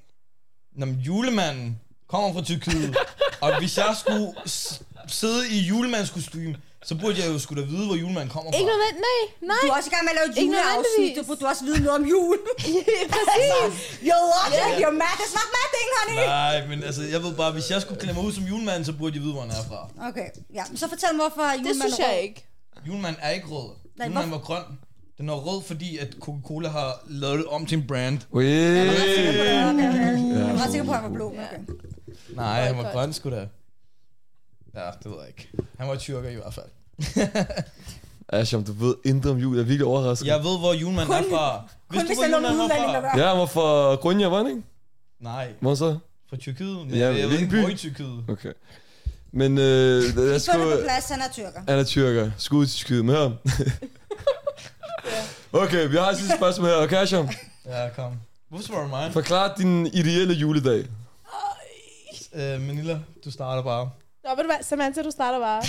Nå, men julemanden kommer fra Tyrkiet, og hvis jeg skulle s- sidde i julemandskostume, så burde jeg jo skulle da vide, hvor julemanden kommer Ikke fra. nødvendigt, nej, Du nej. er også i gang med at lave et Ikke juleafsnit. nødvendigvis. Du burde du også vide noget om jul. Præcis. You're logic, you're mad. It's not mad thing, honey. Nej, men altså, jeg ved bare, hvis jeg skulle klæde mig ud som julemand, så burde jeg vide, hvor han er fra. Okay, ja. Men så fortæl mig, hvorfor Det julemanden synes er jeg rød. ikke. Julemanden er ikke rød. Nej, Julemanden var grøn. Den er rød, fordi at Coca-Cola har lavet det om til en brand. Jeg var ret sikker på, Wee. at han var blå. Jeg var ret sikker på, at han var blå. men Okay. Nej, han var Boykot. grøn sgu da. Ja, det ved jeg ikke. Han var tyrker i hvert fald. Asham, du ved intet om jul. Jeg er virkelig overrasket. Jeg ved, hvor julemanden er Kun- fra. Kun hvis du, der er nogen var udlænding, der gør. Ja, han var fra Grønja, var han ikke? Nej, Hvor så? fra Tyrkiet. Men Ja, ja, jeg ved hvilken ikke, by? hvor i Tyrkiet. Okay. Men øh, lad Vi os får gå... det på plads, han er tyrker. Han er tyrker. Skud til skyde med ham. Okay, vi har et sidste spørgsmål her. Okay, Asham? Ja, kom. Hvorfor spørger du mig? Forklar din ideelle juledag. Øh, Manila, du starter bare. Nå, ved du hvad, Samantha, du starter bare.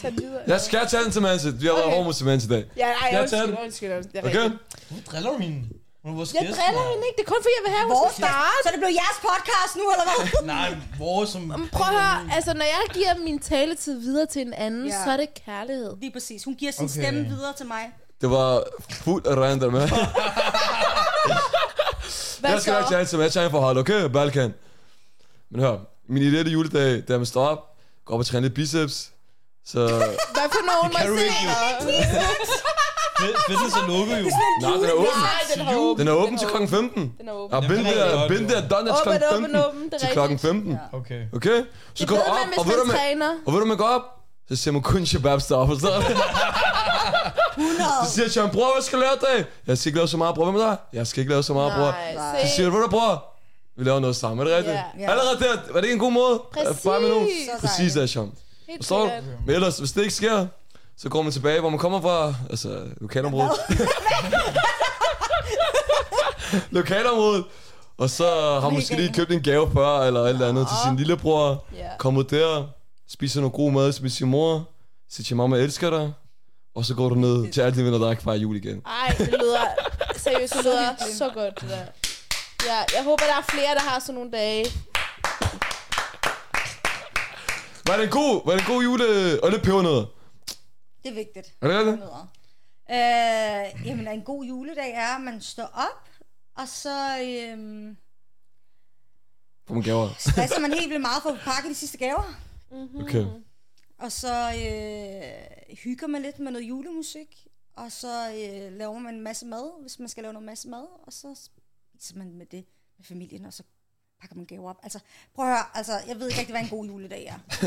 Tag den videre. Jeg skal tage den til Mansi. Vi har været Okay. hård mod til Mansi i dag. Ja, ej, Jeg tager undskyld, den. undskyld, undskyld. Det er Okay? rigtigt. Hvorfor driller du hende? Hun er vores Jeg gæst, driller mand. hende ikke. Det er kun fordi, jeg vil have, at hun Vores skal start, så det blev jeres podcast nu, eller hvad? Nej, vores som... Jamen, Prøv at Mm. høre, altså når jeg giver min taletid videre til en anden, Ja. yeah. så er det kærlighed. Lige præcis. Hun giver sin Okay. okay. stemme videre til mig. Det var fuld af random, man. Hvad Jeg skal så? ikke tage en til matchen for hold, okay? Balkan. Men hør, min ideelle juledag, det er, at man står op, går op og træner lidt biceps. Så... Hvad for nogen må Kan du se? ikke jo? Fed- Fitness er lukket jo. Nej, den er åben. Nej, den har åben. Den er åben til Ah, klokken åben. 15. Den er åben. Ja, Den er bind rigtig der, godt, bind jo. der, donuts Åben, klokken åben, 15. åben, det er Til klokken 15. rigtigt. Okay. Okay? Så Det går ved du man, op, hvis og ved du, man man, træner. og ved du, man går op, så ser man kun shababs deroppe, så Så siger jeg til ham, bror, hvad skal du lave i dag? Jeg skal ikke lave så meget, bror. Hvad med dig? Jeg skal ikke lave så meget, bror. Nej, Nej. Så siger se. du, hvor du, bror? Vi laver noget sammen, er det rigtigt? Ja. Ja. Allerede der, var det ikke en god måde? Præcis. Bare med nogen. Så Præcis, Asham. Helt Forstår du? sikkert. Men ellers, hvis det ikke sker, så går man tilbage, hvor man kommer fra. Altså, lokalområdet. lokalområdet. Og så har man måske lige købt en gave før, eller et eller andet til sin lillebror. Ja. Kom ud der, spiser noget god mad med sin mor. Siger til mamma, jeg elsker dig. Og så går du ned til alle dine venner, der ikke fejrer jul igen. Ej, det lyder seriøst, det lyder så godt, det der. Ja, jeg håber, der er flere, der har sådan nogle dage. Var det en god, var det en god jule og lidt pebernødder? Det er vigtigt. Er det det? Øh, jamen, en god juledag er, at man står op, og så øhm, Får man gaver. stresser man helt vildt meget for at pakke de sidste gaver. Okay. Og så øh, hygger man lidt med noget julemusik, og så øh, laver man en masse mad, hvis man skal lave noget masse mad, og så spiser man med det med familien, og så pakker man gaver op. Altså, prøv at høre, altså, jeg ved ikke rigtig, hvad en god juledag er.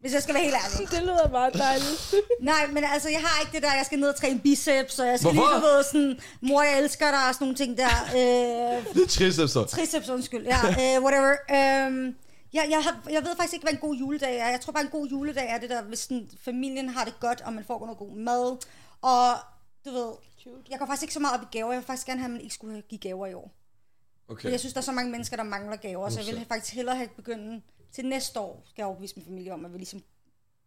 Hvis jeg skal være helt ærlig. Det lyder meget dejligt. Nej, men altså, jeg har ikke det der, jeg skal ned og træne biceps, og jeg skal Hvorfor? lige, du ved, sådan, mor, jeg elsker dig, og sådan nogle ting der. Øh, Lidt triceps så. triceps, undskyld. Ja, uh, whatever. Um, jeg, jeg, har, jeg ved faktisk ikke, hvad en god juledag er. Jeg tror bare, en god juledag er det der, hvis sådan, familien har det godt, og man får noget god mad. Og du ved, jeg går faktisk ikke så meget op i gaver. Jeg vil faktisk gerne have, at man ikke skulle give gaver i år. Okay. Okay. Jeg synes, der er så mange mennesker, der mangler gaver, så jeg vil faktisk hellere have begyndt til næste år, skal jeg overbevise min familie om, at vi ligesom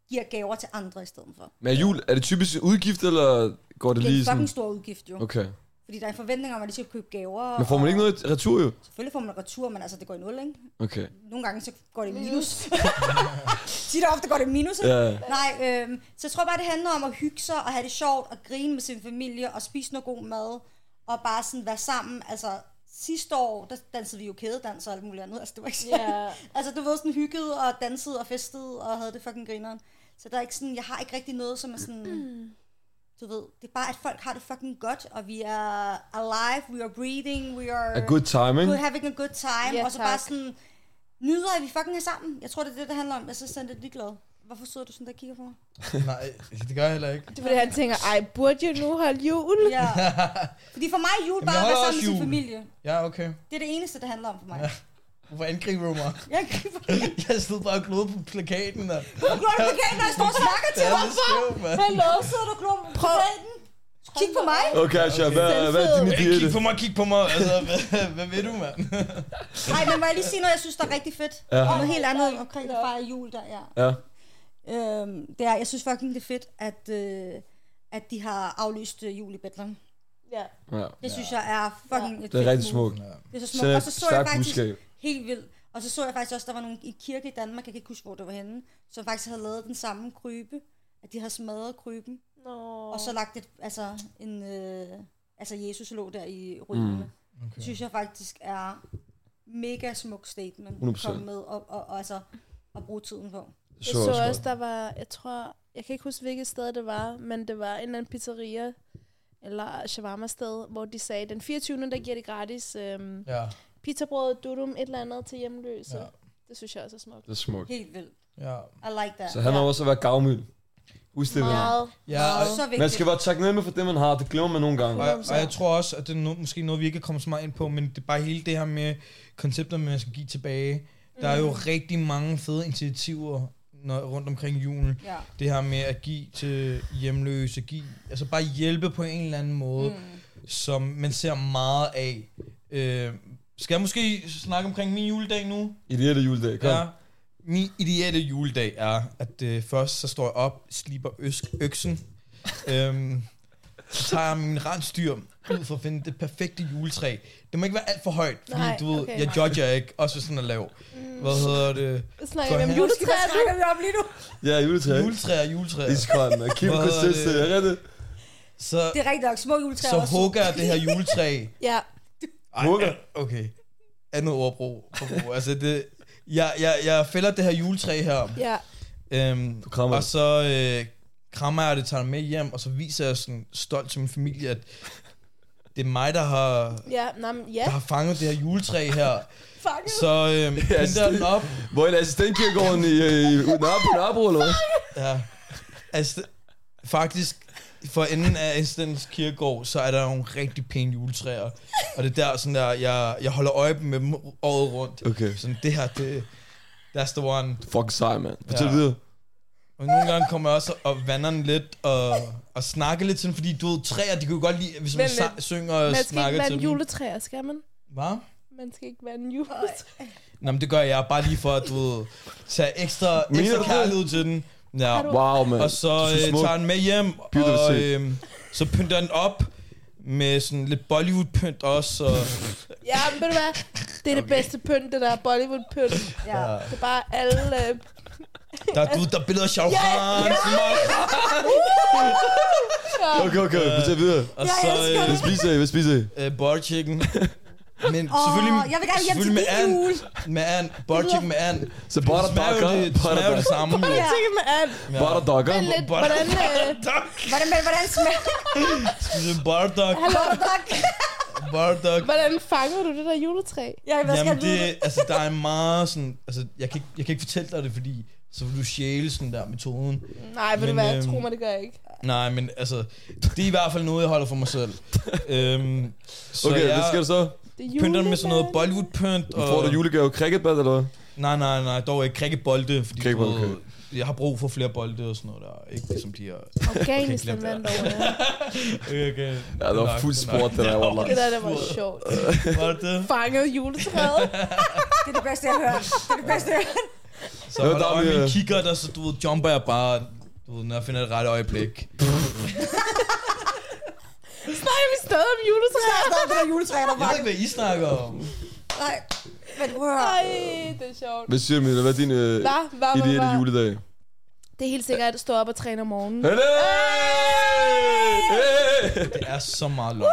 giver gaver til andre i stedet for. Men er jul, er det typisk udgift, eller går det Det er lige en sådan? fucking stor udgift jo. Okay. ligesom- Okay. Fordi der er en forventning om, at de skal købe gaver. Men får man og- ikke noget retur jo? Selvfølgelig får man retur, men altså, det går i nul, ikke? Okay. nogle gange så går det i minus. Tid og ofte går det i minus, ikke? Ja. Nej, øhm, så jeg tror bare, det handler om at hygge sig og have det sjovt og grine med sin familie og spise noget god mad og bare sådan være sammen. Altså, sidste år, der dansede vi jo kædedans og alt muligt andet. Altså, det var ikke sådan. Ja. Altså, du ved, sådan hyggede og dansede og festede og havde det fucking grineren. Så der er ikke sådan, jeg har ikke rigtig noget, som er sådan... Du ved, det er bare, at folk har det fucking godt, og vi er alive, we are breathing, we are A good timing. good having a good time, Ja, ja, og så tak. bare tak. sådan, nyder, at vi fucking er sammen. Jeg tror, det er det, det handler om. Jeg er så sådan lidt ligeglad. Hvorfor sidder du sådan der og kigger på mig? Nej, det gør jeg heller ikke. Det er fordi, han tænker, ej, burde jeg nu holde jul? Ja. Fordi for mig er jul Jamen, bare jeg at være holder sammen med også sin jul. familie. Ja, okay. Det er det eneste, det handler om for mig. Hvorfor angriber du mig? Jeg griber ikke Jeg stod bare og glod på plakaten. Og... på plakaten, når jeg står og snakker til dig. skøv, mand. Hallo, sidder du og glor på plakaten? Kig på mig. Okay, Asha, hvad, Okay. hvad er din Ikke ideelle? kig på mig, kig på mig. Altså, hvad, hvad ved du, mand? Nej, men må jeg lige sige noget, jeg synes, der er rigtig fedt. Ja. Og noget helt andet omkring at fejre jul der, ja. Ja. Øhm, det er, jeg synes fucking, det er fedt, at, øh, at de har aflyst øh, jul i Bethlehem. Ja. ja. Det synes jeg er fucking ja. et Det er fedt rigtig move. smukt. Det er så Sender smukt. Og så et så jeg stærkt faktisk budskab. helt vildt. Og så så jeg faktisk også, der var nogen i kirke i Danmark, jeg kan ikke huske, hvor det var henne, som faktisk havde lavet den samme krybe, at de havde smadret kryben, Nå. oh. og så lagt et, altså, en, øh, altså Jesus lå der i ruinerne. Mm. Okay. Det synes jeg faktisk er mega smuk statement 100%. at komme med og, og, og, altså, at bruge tiden på. Jeg så, så også, der var, jeg tror, jeg kan ikke huske, hvilket sted det var, men det var en eller anden pizzeria, eller shawarma-sted, hvor de sagde, den 24. der giver det gratis øhm, Ja, pizzabrød, dudum, et eller andet til hjemløse. Ja. Ja. Det synes jeg også er smukt. Det er smukt. Helt vildt. ja. I like that. Så han har også været gavmild. Husk det, venner. Meget. Ja, og, så vigtigt. Man skal være taknemmelig for det, man har. Det glemmer man nogle gange. og, og jeg tror også, at det er no, måske noget, vi ikke er kommet så meget ind på, men det er bare hele det her med koncepter, med at man skal give tilbage. Der er jo rigtig mange fede initiativer når, rundt omkring julen. Ja. det her med at give til hjemløse, give, altså bare hjælpe på en eller anden måde. Mm. som man ser meget af. Øh, skal jeg måske snakke omkring min juledag nu? Ideelle juledag, kom. Ja. Min ideelle juledag er, at øh, først så står jeg op, sliber øsk, øksen, øhm, så tager jeg min rensdyr ud for at finde det perfekte juletræ. Det må ikke være alt for højt, fordi Nej, Nej, du ved, okay. okay. jeg judger ikke, også hvis den er lav. Mm. Hvad hedder det? Snakker vi om Hvad juletræer nu? snakker vi om lige nu? Ja, juletræ. Juletræer, juletræer. Iskold, man. Kim Hvad hedder Christensen, det? er det? Så, Det er rigtigt nok. Små juletræer så også. hugger jeg det her juletræ. Ja. Ej, Mugger. Okay. Andet ordbrug. Forbrug. altså det, jeg, jeg, jeg fælder det her juletræ her. Ja. Øhm, du krammer og det. så øh, krammer jeg det, tager det med hjem, og så viser jeg sådan stolt til min familie, at det er mig, der har, Ja, nej, men ja. der har fanget det her juletræ her. Fuck. Så øhm, pinder den op. Hvor er altså det assistentkirkegården i, øh, i Nørrebro, Nørrebro, eller hvad? Ja. Altså, faktisk, for enden af Instens Kirkegård, så er der nogle rigtig pæne juletræer. Og det er der, sådan der jeg, jeg holder øje med dem året rundt. Okay. Sådan, det her, det, that's the one. Fuck sej, mand. Fortæl Ja. videre. Og nogle gange kommer jeg også og vander den lidt og, og snakker lidt til dem, fordi du ved, træer, de kan jo godt lide, hvis man Vent lidt. sa- synger og Man skal ikke snakker være til en dem. juletræer, skal man? Hvad? Man skal ikke være en juletræ. Nå, men det gør jeg bare lige for at, du ved, tage ekstra, Mener du ekstra det? kærlighed til den. Ja. Wow, mand. Og så Du er øh, smuk. tager den med him, Beautiful og set. øh, så pynter jeg den op med sådan lidt Bollywood-pynt også. Og, Ja, men ved du hvad? Det er det bedste pynt, det der Bollywood-pynt. Ja. Det er bare alle... Øh, der, er- du, ved, der er billeder af Shao Kahn, yeah, yeah. Okay, okay. Fortæl videre. og Jeg så elsker Hvad øh, spiser I? Hvad spiser I? øh, butter chicken. Men Åh, selvfølgelig, jeg vil gerne hjem til selvfølgelig din and. jul. Med and, butter chicken med and. Så butter smager jo ducker. det, det Butter smager jo det ducker. samme. jo. jeg tænker med alt. Butter ducker. Men lidt, Butter- hvordan... Øh, Hvordan, men, hvordan smager Det er Bardock, hallo, Bardock? Bardock. hvordan fanger du det der juletræ? Ja, hvad skal Jamen jeg vide? det, altså der er meget sådan, altså jeg kan, ikke, jeg kan ikke fortælle dig det, fordi så vil du sjæle sådan der metoden. Nej, ved du Men, hvad? øhm, Tro mig, det gør jeg ikke. Nej, men altså, det er i hvert fald noget, jeg holder for mig selv. øhm, så Okay, jeg Øh. hvad sker der så? Det er pynter den med sådan noget julemanden. Bollywood-pynt. Og, Får du julegave cricketbat, eller hvad? Nej, nej, nej, dog ikke cricketbolde, fordi du Cricketbolde, ved, jeg har brug for flere bolde og sådan noget der. Ikke ligesom de her... Afghanistan Okay, glem det. vandt over. ja. Okay, okay. Ja, det var fuld sport, det der var Det der, der var sjovt. Var det det? Fanget juletræet. Det er det bedste, jeg har hørt. Det er det bedste, jeg har hørt. Så Det var holder jeg øje med dejligt, min ja. kigger, der så, du ved, jumper jeg bare, du ved, når jeg finder det rette øjeblik. Snakker vi stadig om juletræet? Stop det der juletræ, der Jeg var. ved ikke, hvad I snakker om. Nej, men prøv at høre. Ej, det er sjovt. Hvad siger du, Mille? Hvad er din øh, Hva? Hva? Hva? ideelle Hva? juledag? Det er helt sikkert at stå op og træne om morgenen. Hey! Det er så meget løgn.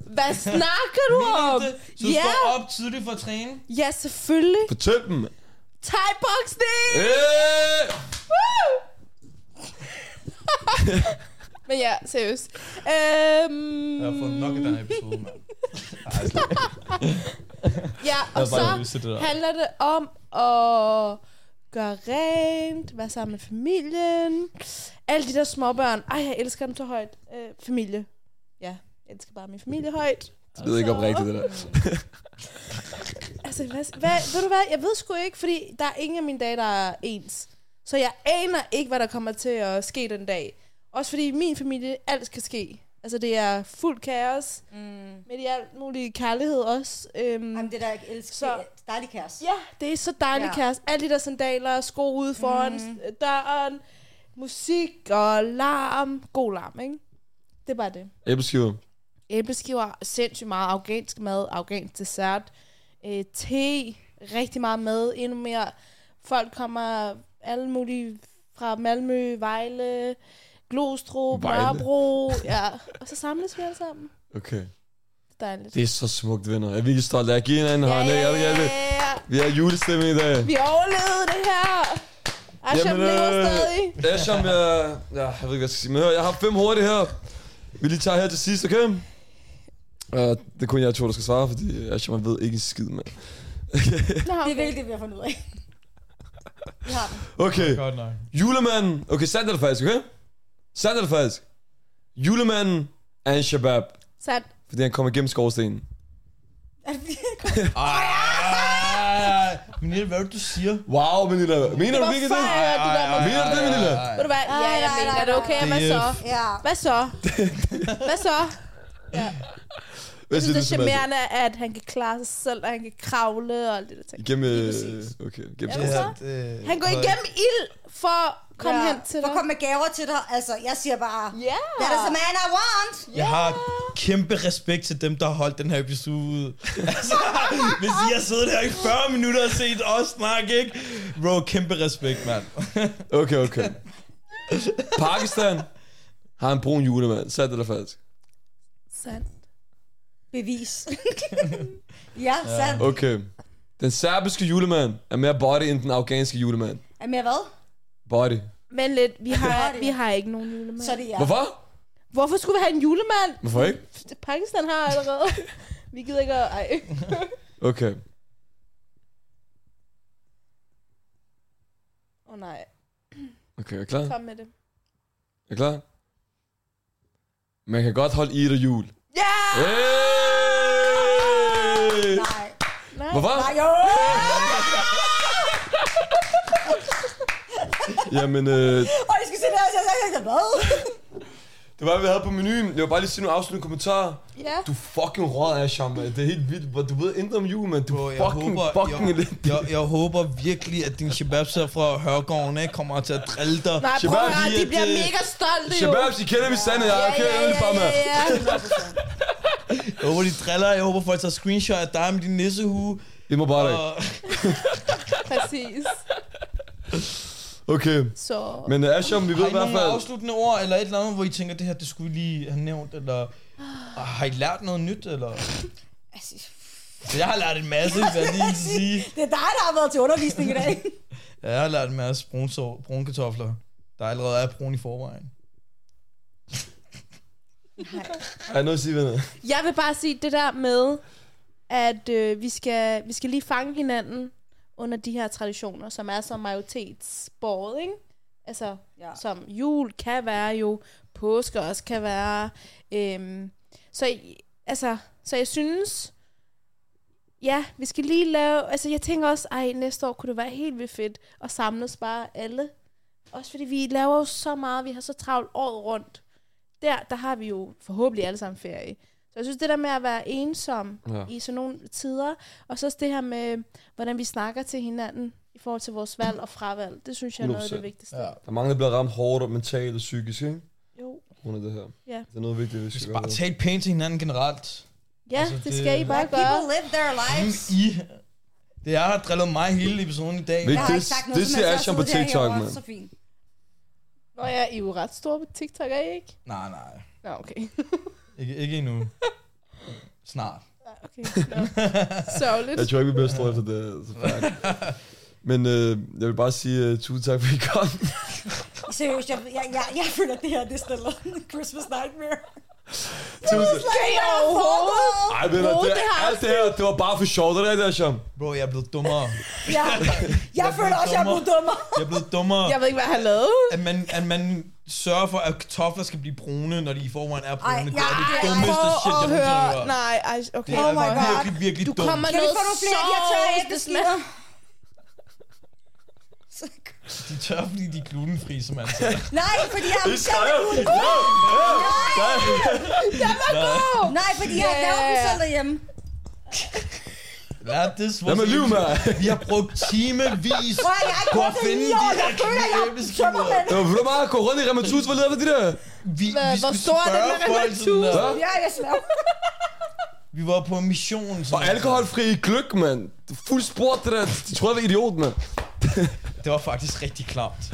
Hvad snakker du om? Så du Ja, står op tidligt for at træne? ja selvfølgelig. Fortæl dem! mand. Thai-boksning! Hey! Men ja, seriøst. Øhm, Jeg har fået nok af den her episode, mand. Ej, slet ikke. Ja, Jeg og har bare lyst så til det der. handler det om at gøre rent, være sammen med familien. Alle de der småbørn. Ej, jeg elsker dem så højt. Øh, familie. Ja, jeg elsker bare min familie højt. Det ved ikke om rigtigt, det der. Altså, hvad, hvad, ved du hvad? Jeg ved sgu ikke, fordi der er ingen af mine dage, der er ens. Så jeg aner ikke, hvad der kommer til at ske den dag. Også fordi i min familie, alt skal ske. Altså, det er fuld kaos. Mm. Midt i alt mulig kærlighed også. Øhm, Jamen, det der, jeg elsker. Så- Så. Dejlig kæreste. Ja, det er så dejligt, ja. Ja. kæreste. Alle de der sandaler, sko ude foran mm. døren, musik og larm. God larm, ikke? Det er bare det. Æbleskiver. Æbleskiver, sindssygt meget afghansk mad, afghansk dessert, øh, te, rigtig meget mad, endnu mere. Folk kommer alle mulige fra Malmø, Vejle, Glostrup, Vejle. Nørrebro, ja. Og så samles vi alle sammen. Okay. Det er dejligt. Det er så smukt, venner. Jeg er virkelig stolt af at give hinanden en hånd. ikke? Er det ikke rigtigt? ja. Vi har julestemning i dag. Vi overlevede det her. Asham Jamen, øh, lever stadig. Asham, jeg, ja, jeg ved ikke, hvad jeg skal sige. Men hør, jeg har fem hurtige her. Vi lige tager her til sidst, okay? Uh, det er kun jeg to, der skal svare, fordi Asham han ved ikke en skid, mand. Nå, Det er okay. virkelig det, vi har fundet ud af. Vi har den. Okay, Godt nok. julemanden. Okay, sandt eller falsk, okay? Sandt eller falsk? Julemanden er en shabab, Sandt. fordi han kommer igennem skorstenen. Er det fordi, Ej, men det er, hvad er det, du siger? Wow, Menilla. Mener du virkelig det? Hvorfor er det der med- Mener du det, Menilla? Ved du hvad? Ja, jeg Ej, nej, mener nej, det. Okay, nej. hvad så? Ja. Hvad så? Hvad så? Hvad Jeg siger synes, du, det Sebastian? er charmerende, at han kan klare sig selv, og han kan kravle og alt det der ting. Igennem... Lige præcis. Øh, okay, igennem Ja, ja, så- øh, Han går igennem ild for at komme hen til for dig. kom med gaver til dig. Altså, jeg siger bare, Ja. that is the man I want. Jeg har kæmpe respekt til dem, der har holdt den her episode ud. altså, hvis I har siddet her i 40 minutter og set os snakke, ikke? Bro, kæmpe respekt, mand. Okay, okay. Pakistan har en brun julemand. Sandt eller falsk? Sandt. Bevis. ja, sandt. Okay. Den serbiske julemand er mere body end den afghanske julemand. Er mere hvad? Body. Men lidt, vi Hvad er har, det? vi har ikke nogen julemand. Så er det ja. Hvorfor? Hvorfor skulle vi have en julemand? Hvorfor ikke? Pakistan har allerede. vi gider ikke at... Ej. Okay. Åh oh, nej, Okay, er I klar? kom med det. Er I klar? Man kan godt holde i det jul. Ja! Hey! Nej. Nej. Hvorfor? Nej, jo. Jamen, øh, Og I skal se det her, så jeg sagde, hvad? det var, hvad vi havde på menuen. Jeg vil bare lige sige nogle afsluttende kommentarer. Ja. Du fucking råd af, Sham, mand. Det er helt vildt, bro. Du ved intet om jul, mand. Du Bro, jeg fucking, håber, fucking jeg, lidt. jeg, jeg, håber virkelig, at din shabab fra Hørgården ikke kommer til at drille dig. Nej, prøv Shabab, at høre, I de er bliver det- mega stolte jo. Shababs, I kender vi sande. Jeg kører ja, ja, bare med. Jeg håber, de driller. Jeg håber, folk tager screenshot af dig med din nissehue. I må bare Og, Præcis. Okay. Så... Men uh, Asham, vi har ved I i hvert nogle fald... afsluttende ord, eller et eller andet, hvor I tænker, det her, det skulle I lige have nævnt, eller... Og har I lært noget nyt, eller... Altså, For jeg har lært en masse, vil jeg lige sige. Det er dig, der har været til undervisning i dag. Ja, jeg har lært en masse brunsov, brune kartofler, der allerede er brun i forvejen. Er noget at sige, venner? Jeg vil bare sige det der med, at øh, vi, skal, vi skal lige fange hinanden under de her traditioner, som er så majoritetsborget, ikke? Altså, Ja. som jul kan være jo, påske også kan være. Øhm, så, i- altså, så jeg synes, ja, vi skal lige lave, altså jeg tænker også, ej, næste år kunne det være helt vildt fedt at samles bare alle. Også fordi vi laver jo så meget, vi har så travlt året rundt. Der, der har vi jo forhåbentlig alle sammen ferie. Så jeg synes, det der med at være ensom Ja. ja. i sådan nogle tider, og så også det her med, hvordan vi snakker til hinanden i forhold til vores valg og fravalg, det synes jeg er noget af 100%. det vigtigste. Ja. Der er mange, der bliver ramt hårdt og mentalt og psykisk, ikke? Jo. Under det her. Ja. Det er noget vigtigt, vi Vi skal skal gøre. bare tale pænt til hinanden generelt. Ja, Altså, altså, det det- skal I bare People gøre. live their lives. Mm, Hvem I... Det er, der har drillet mig hele episoden i dag. Ved- Jeg har Det- ikke sagt det noget, så siger man Asham sidder på og sidder TikTok, herovre. mand. Så fint. Nå ja, I er jo ret store på TikTok, er I ikke? Nej, nej. Nå, okay. Ikke, ikke endnu. Snart. okay. Nå. Sørgeligt. Jeg tror ikke, vi bliver store efter det. Så fuck. Men øh, jeg vil bare sige uh, tusind tak, fordi I kom. Seriøst, jeg, jeg, jeg, jeg føler, at det her det stiller Christmas Nightmare. tusind. Kan I oh, overhovedet? Ej, venner, Bro, det, det har alt det her, det var bare for sjov, det der, der Sham. Bro, jeg er blevet dummere. Jeg, jeg føler også, at jeg er blevet dummere. Jeg er blevet dummere. Jeg ved ikke, hvad han lavede. At man, at man sørger for, at kartofler skal blive brune, når de i forvejen er brune. Ej, det er ej, det ej, dummeste Prøv shit, jeg at nogensinde høre. har hørt. Nej, ej, okay. Det er Oh my God. virkelig, virkelig Du dumt. kommer Kan vi noget få nogle flere af de her tørre sovs, det æbleskiver? smager. De tør, fordi de er glutenfri, som man siger. Nej, fordi jeg Det skal jeg. Nej, fordi jeg har Ja, ja, lavet dem ja. selv derhjemme. Lad this Lad mig lyve, mand. Vi har brugt timevis Prøv, jeg har ikke på at brugt det i finde ni de år. her Jeg føler, at jeg er æbleskiver. tømmermænd. Det var for meget at gå rundt i Rematus, hvad leder for de der? Vi, Hvad- vi hvor skulle stor er den spørge her folk sådan der. Hvad? Ja, jeg slår. Vi var på en mission. Og sådan alkoholfri gløk, mand. Det er Fuld sport, det der. De tror, jeg var idiot, mand. der. Det var faktisk rigtig klamt.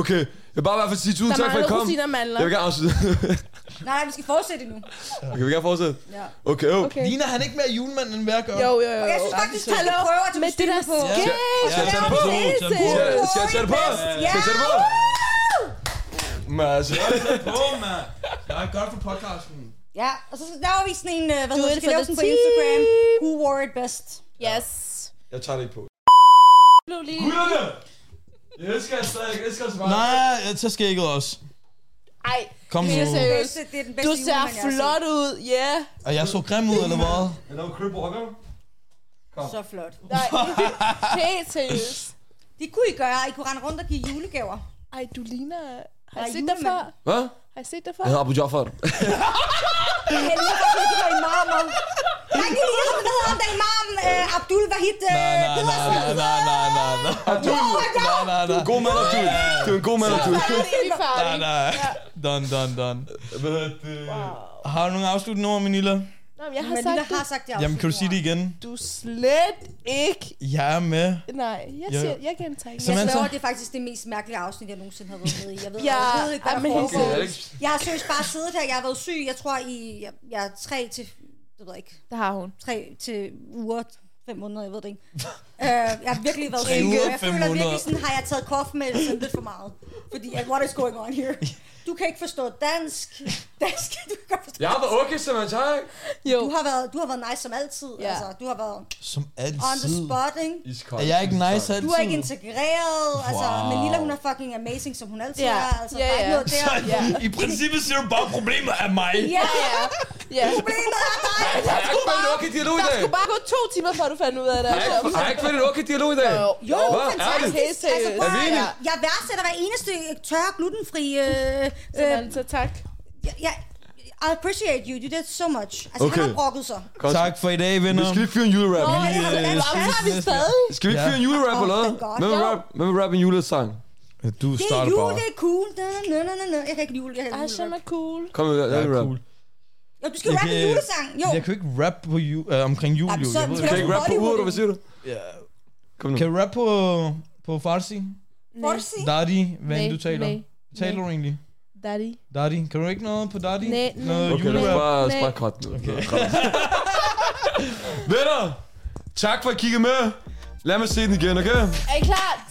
Okay, jeg vil bare i hvert fald sige tusind Der tak, for at I mangler kom. rosiner og mandler. Jeg vil gerne afslutte. Nej, nej, vi skal fortsætte nu. Okay, vi kan gerne fortsætte. Ja. Okay, øv. Okay. Ligner han ikke mere julemand, end hvad jeg gør? Jo, jo, jo. Og jeg synes faktisk, at Hallo, vi prøver at tage med det der beslutning Ja. på. skæg. Skal jeg tage det på? Skal jeg, skal jeg tage det på? Skal jeg tage det på? Men altså, På, mand. Jeg er godt for podcasten. Ja, og så laver vi sådan en, øh, hvad Do hedder it det, skal for lave the sådan på Instagram. team. Who wore it best? Yes. jeg tager det ikke på. Blev lige... Gutterne! Jeg elsker jer stadig, jeg elsker jer så meget. Nej, jeg tager skægget også. Ej, Kom nu. helt seriøst. Bedste, det er den bedste Du ser julemand, jeg har set. flot ud, ja. Yeah. Og jeg så grim ud, eller hvad? Jeg laver crib rocker. Så flot. Nej, helt seriøst. Det kunne I gøre. I kunne rende rundt og give julegaver. Ej, du ligner... Har Ej, I set dig før? julemand. Hvad? Har I set det før? Jeg hedder Abu Jafar. Helvede, jeg synes, det var imam. om- Nej, det er lige ham, der hedder ham, der er imam. øh, Abdul Wahid øh, Nej, nej, nej, Pedersen. nej, nej, nej, nej, nej. Abdul! Nej, nej, nej. God mand, Abdul. Du er en god mand, Abdul. Vi er Nej, færdige. nej. Done, done, done. Hvad hedder det? Har du nogle afsluttende ord, Minilla? Nå, men jeg har Men sagt Lilla det. har sagt det Jamen, kan du sige det igen? Du er slet ikke... Jeg er med. Nej, jeg, Jo. siger, jeg gentager ikke. Så- Jeg Men sværger, det er faktisk det mest mærkelige afsnit, jeg nogensinde har været med i. Jeg ved Ja, overhovedet ikke, hvad jamen, der helt foregår. sikkert. Alex. Jeg har seriøst bare siddet her. Jeg har været syg, jeg tror, i jeg, jeg er tre til, jeg ved ikke, Det har hun. tre til uger, fem måneder, jeg ved det ikke. Øh, jeg har virkelig været Tre syg, uger, og jeg fem føler måneder. virkelig sådan, har jeg taget kof med sådan lidt for meget. Fordi, at, what is going on here? Du kan ikke forstå dansk. Dansk, du kan godt forstå. Jeg har været okay, Samantha. ikke? Jo. Du har været, du har været nice som altid. Ja. Ja. Altså, du har været Som on the altid. spot, ikke? Iskold. Er jeg ikke nice altid? Du er ikke integreret, wow. altså, Wow. men Lilla, hun er fucking amazing, som hun altid Ja. er. Altså, Ja, der er ja. ikke noget der. Ja. I princippet ser du bare problemer af mig. Ja, Ja, ja. ja. problemet er dig. Har jeg ikke været en okay dialog i Der dag? skulle bare gå to timer, før du fandt ud af det. Har jeg ikke- Har jeg ikke været en okay dialog i dag? Jo, jo, Hvad? fantastisk. Ærligt? Helt seriøst. prøv Er vi at- enige? Altså, Jeg værdsætter hver eneste tørre, glutenfri... Øh, øh, Så tak. jeg, jeg, I appreciate you, you did so much. Altså, okay. Okay. han har brokket sig. Godt. Tak for i dag, venner. Vi skal lige fyre en julerap. Nå, ja, øh, men Hvorfor har vi ses næste- stadig? Skal vi ikke Ja. fyre en julerap Åh, eller hvad? thank God. Hvem vil Jo. rap, hvem vil rap en julesang? Du Det er starter jul, bare. det er cool. Da, na, na, na, na. Jeg kan ikke jule, jeg kan Ej, ikke som jule. er cool. Kom med, Ja, lad rap. cool. Jo, du skal Jeg rappe en kan- julesang. Jo, Jeg kan jo ikke rap på ju, øh, omkring jul, Jamen, jo. så Jeg ved Du skal kan ikke. ikke rap på uret, hvad siger du? Ja. Kom nu. Kan du rap på, på farsi? får du sige? Daddy, hvad end Nej, du taler? nej, Taler du egentlig? Daddy. Daddy, kan du ikke noget på Daddy? Nej, nej. Noget Okay, lad os julerap? bare Nej. sparke kort nu. Venner, tak for at kigge med. Lad mig se den igen, okay? Er I klar?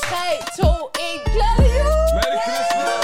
3, 2, 1. Glædelig jul! Merry Christmas!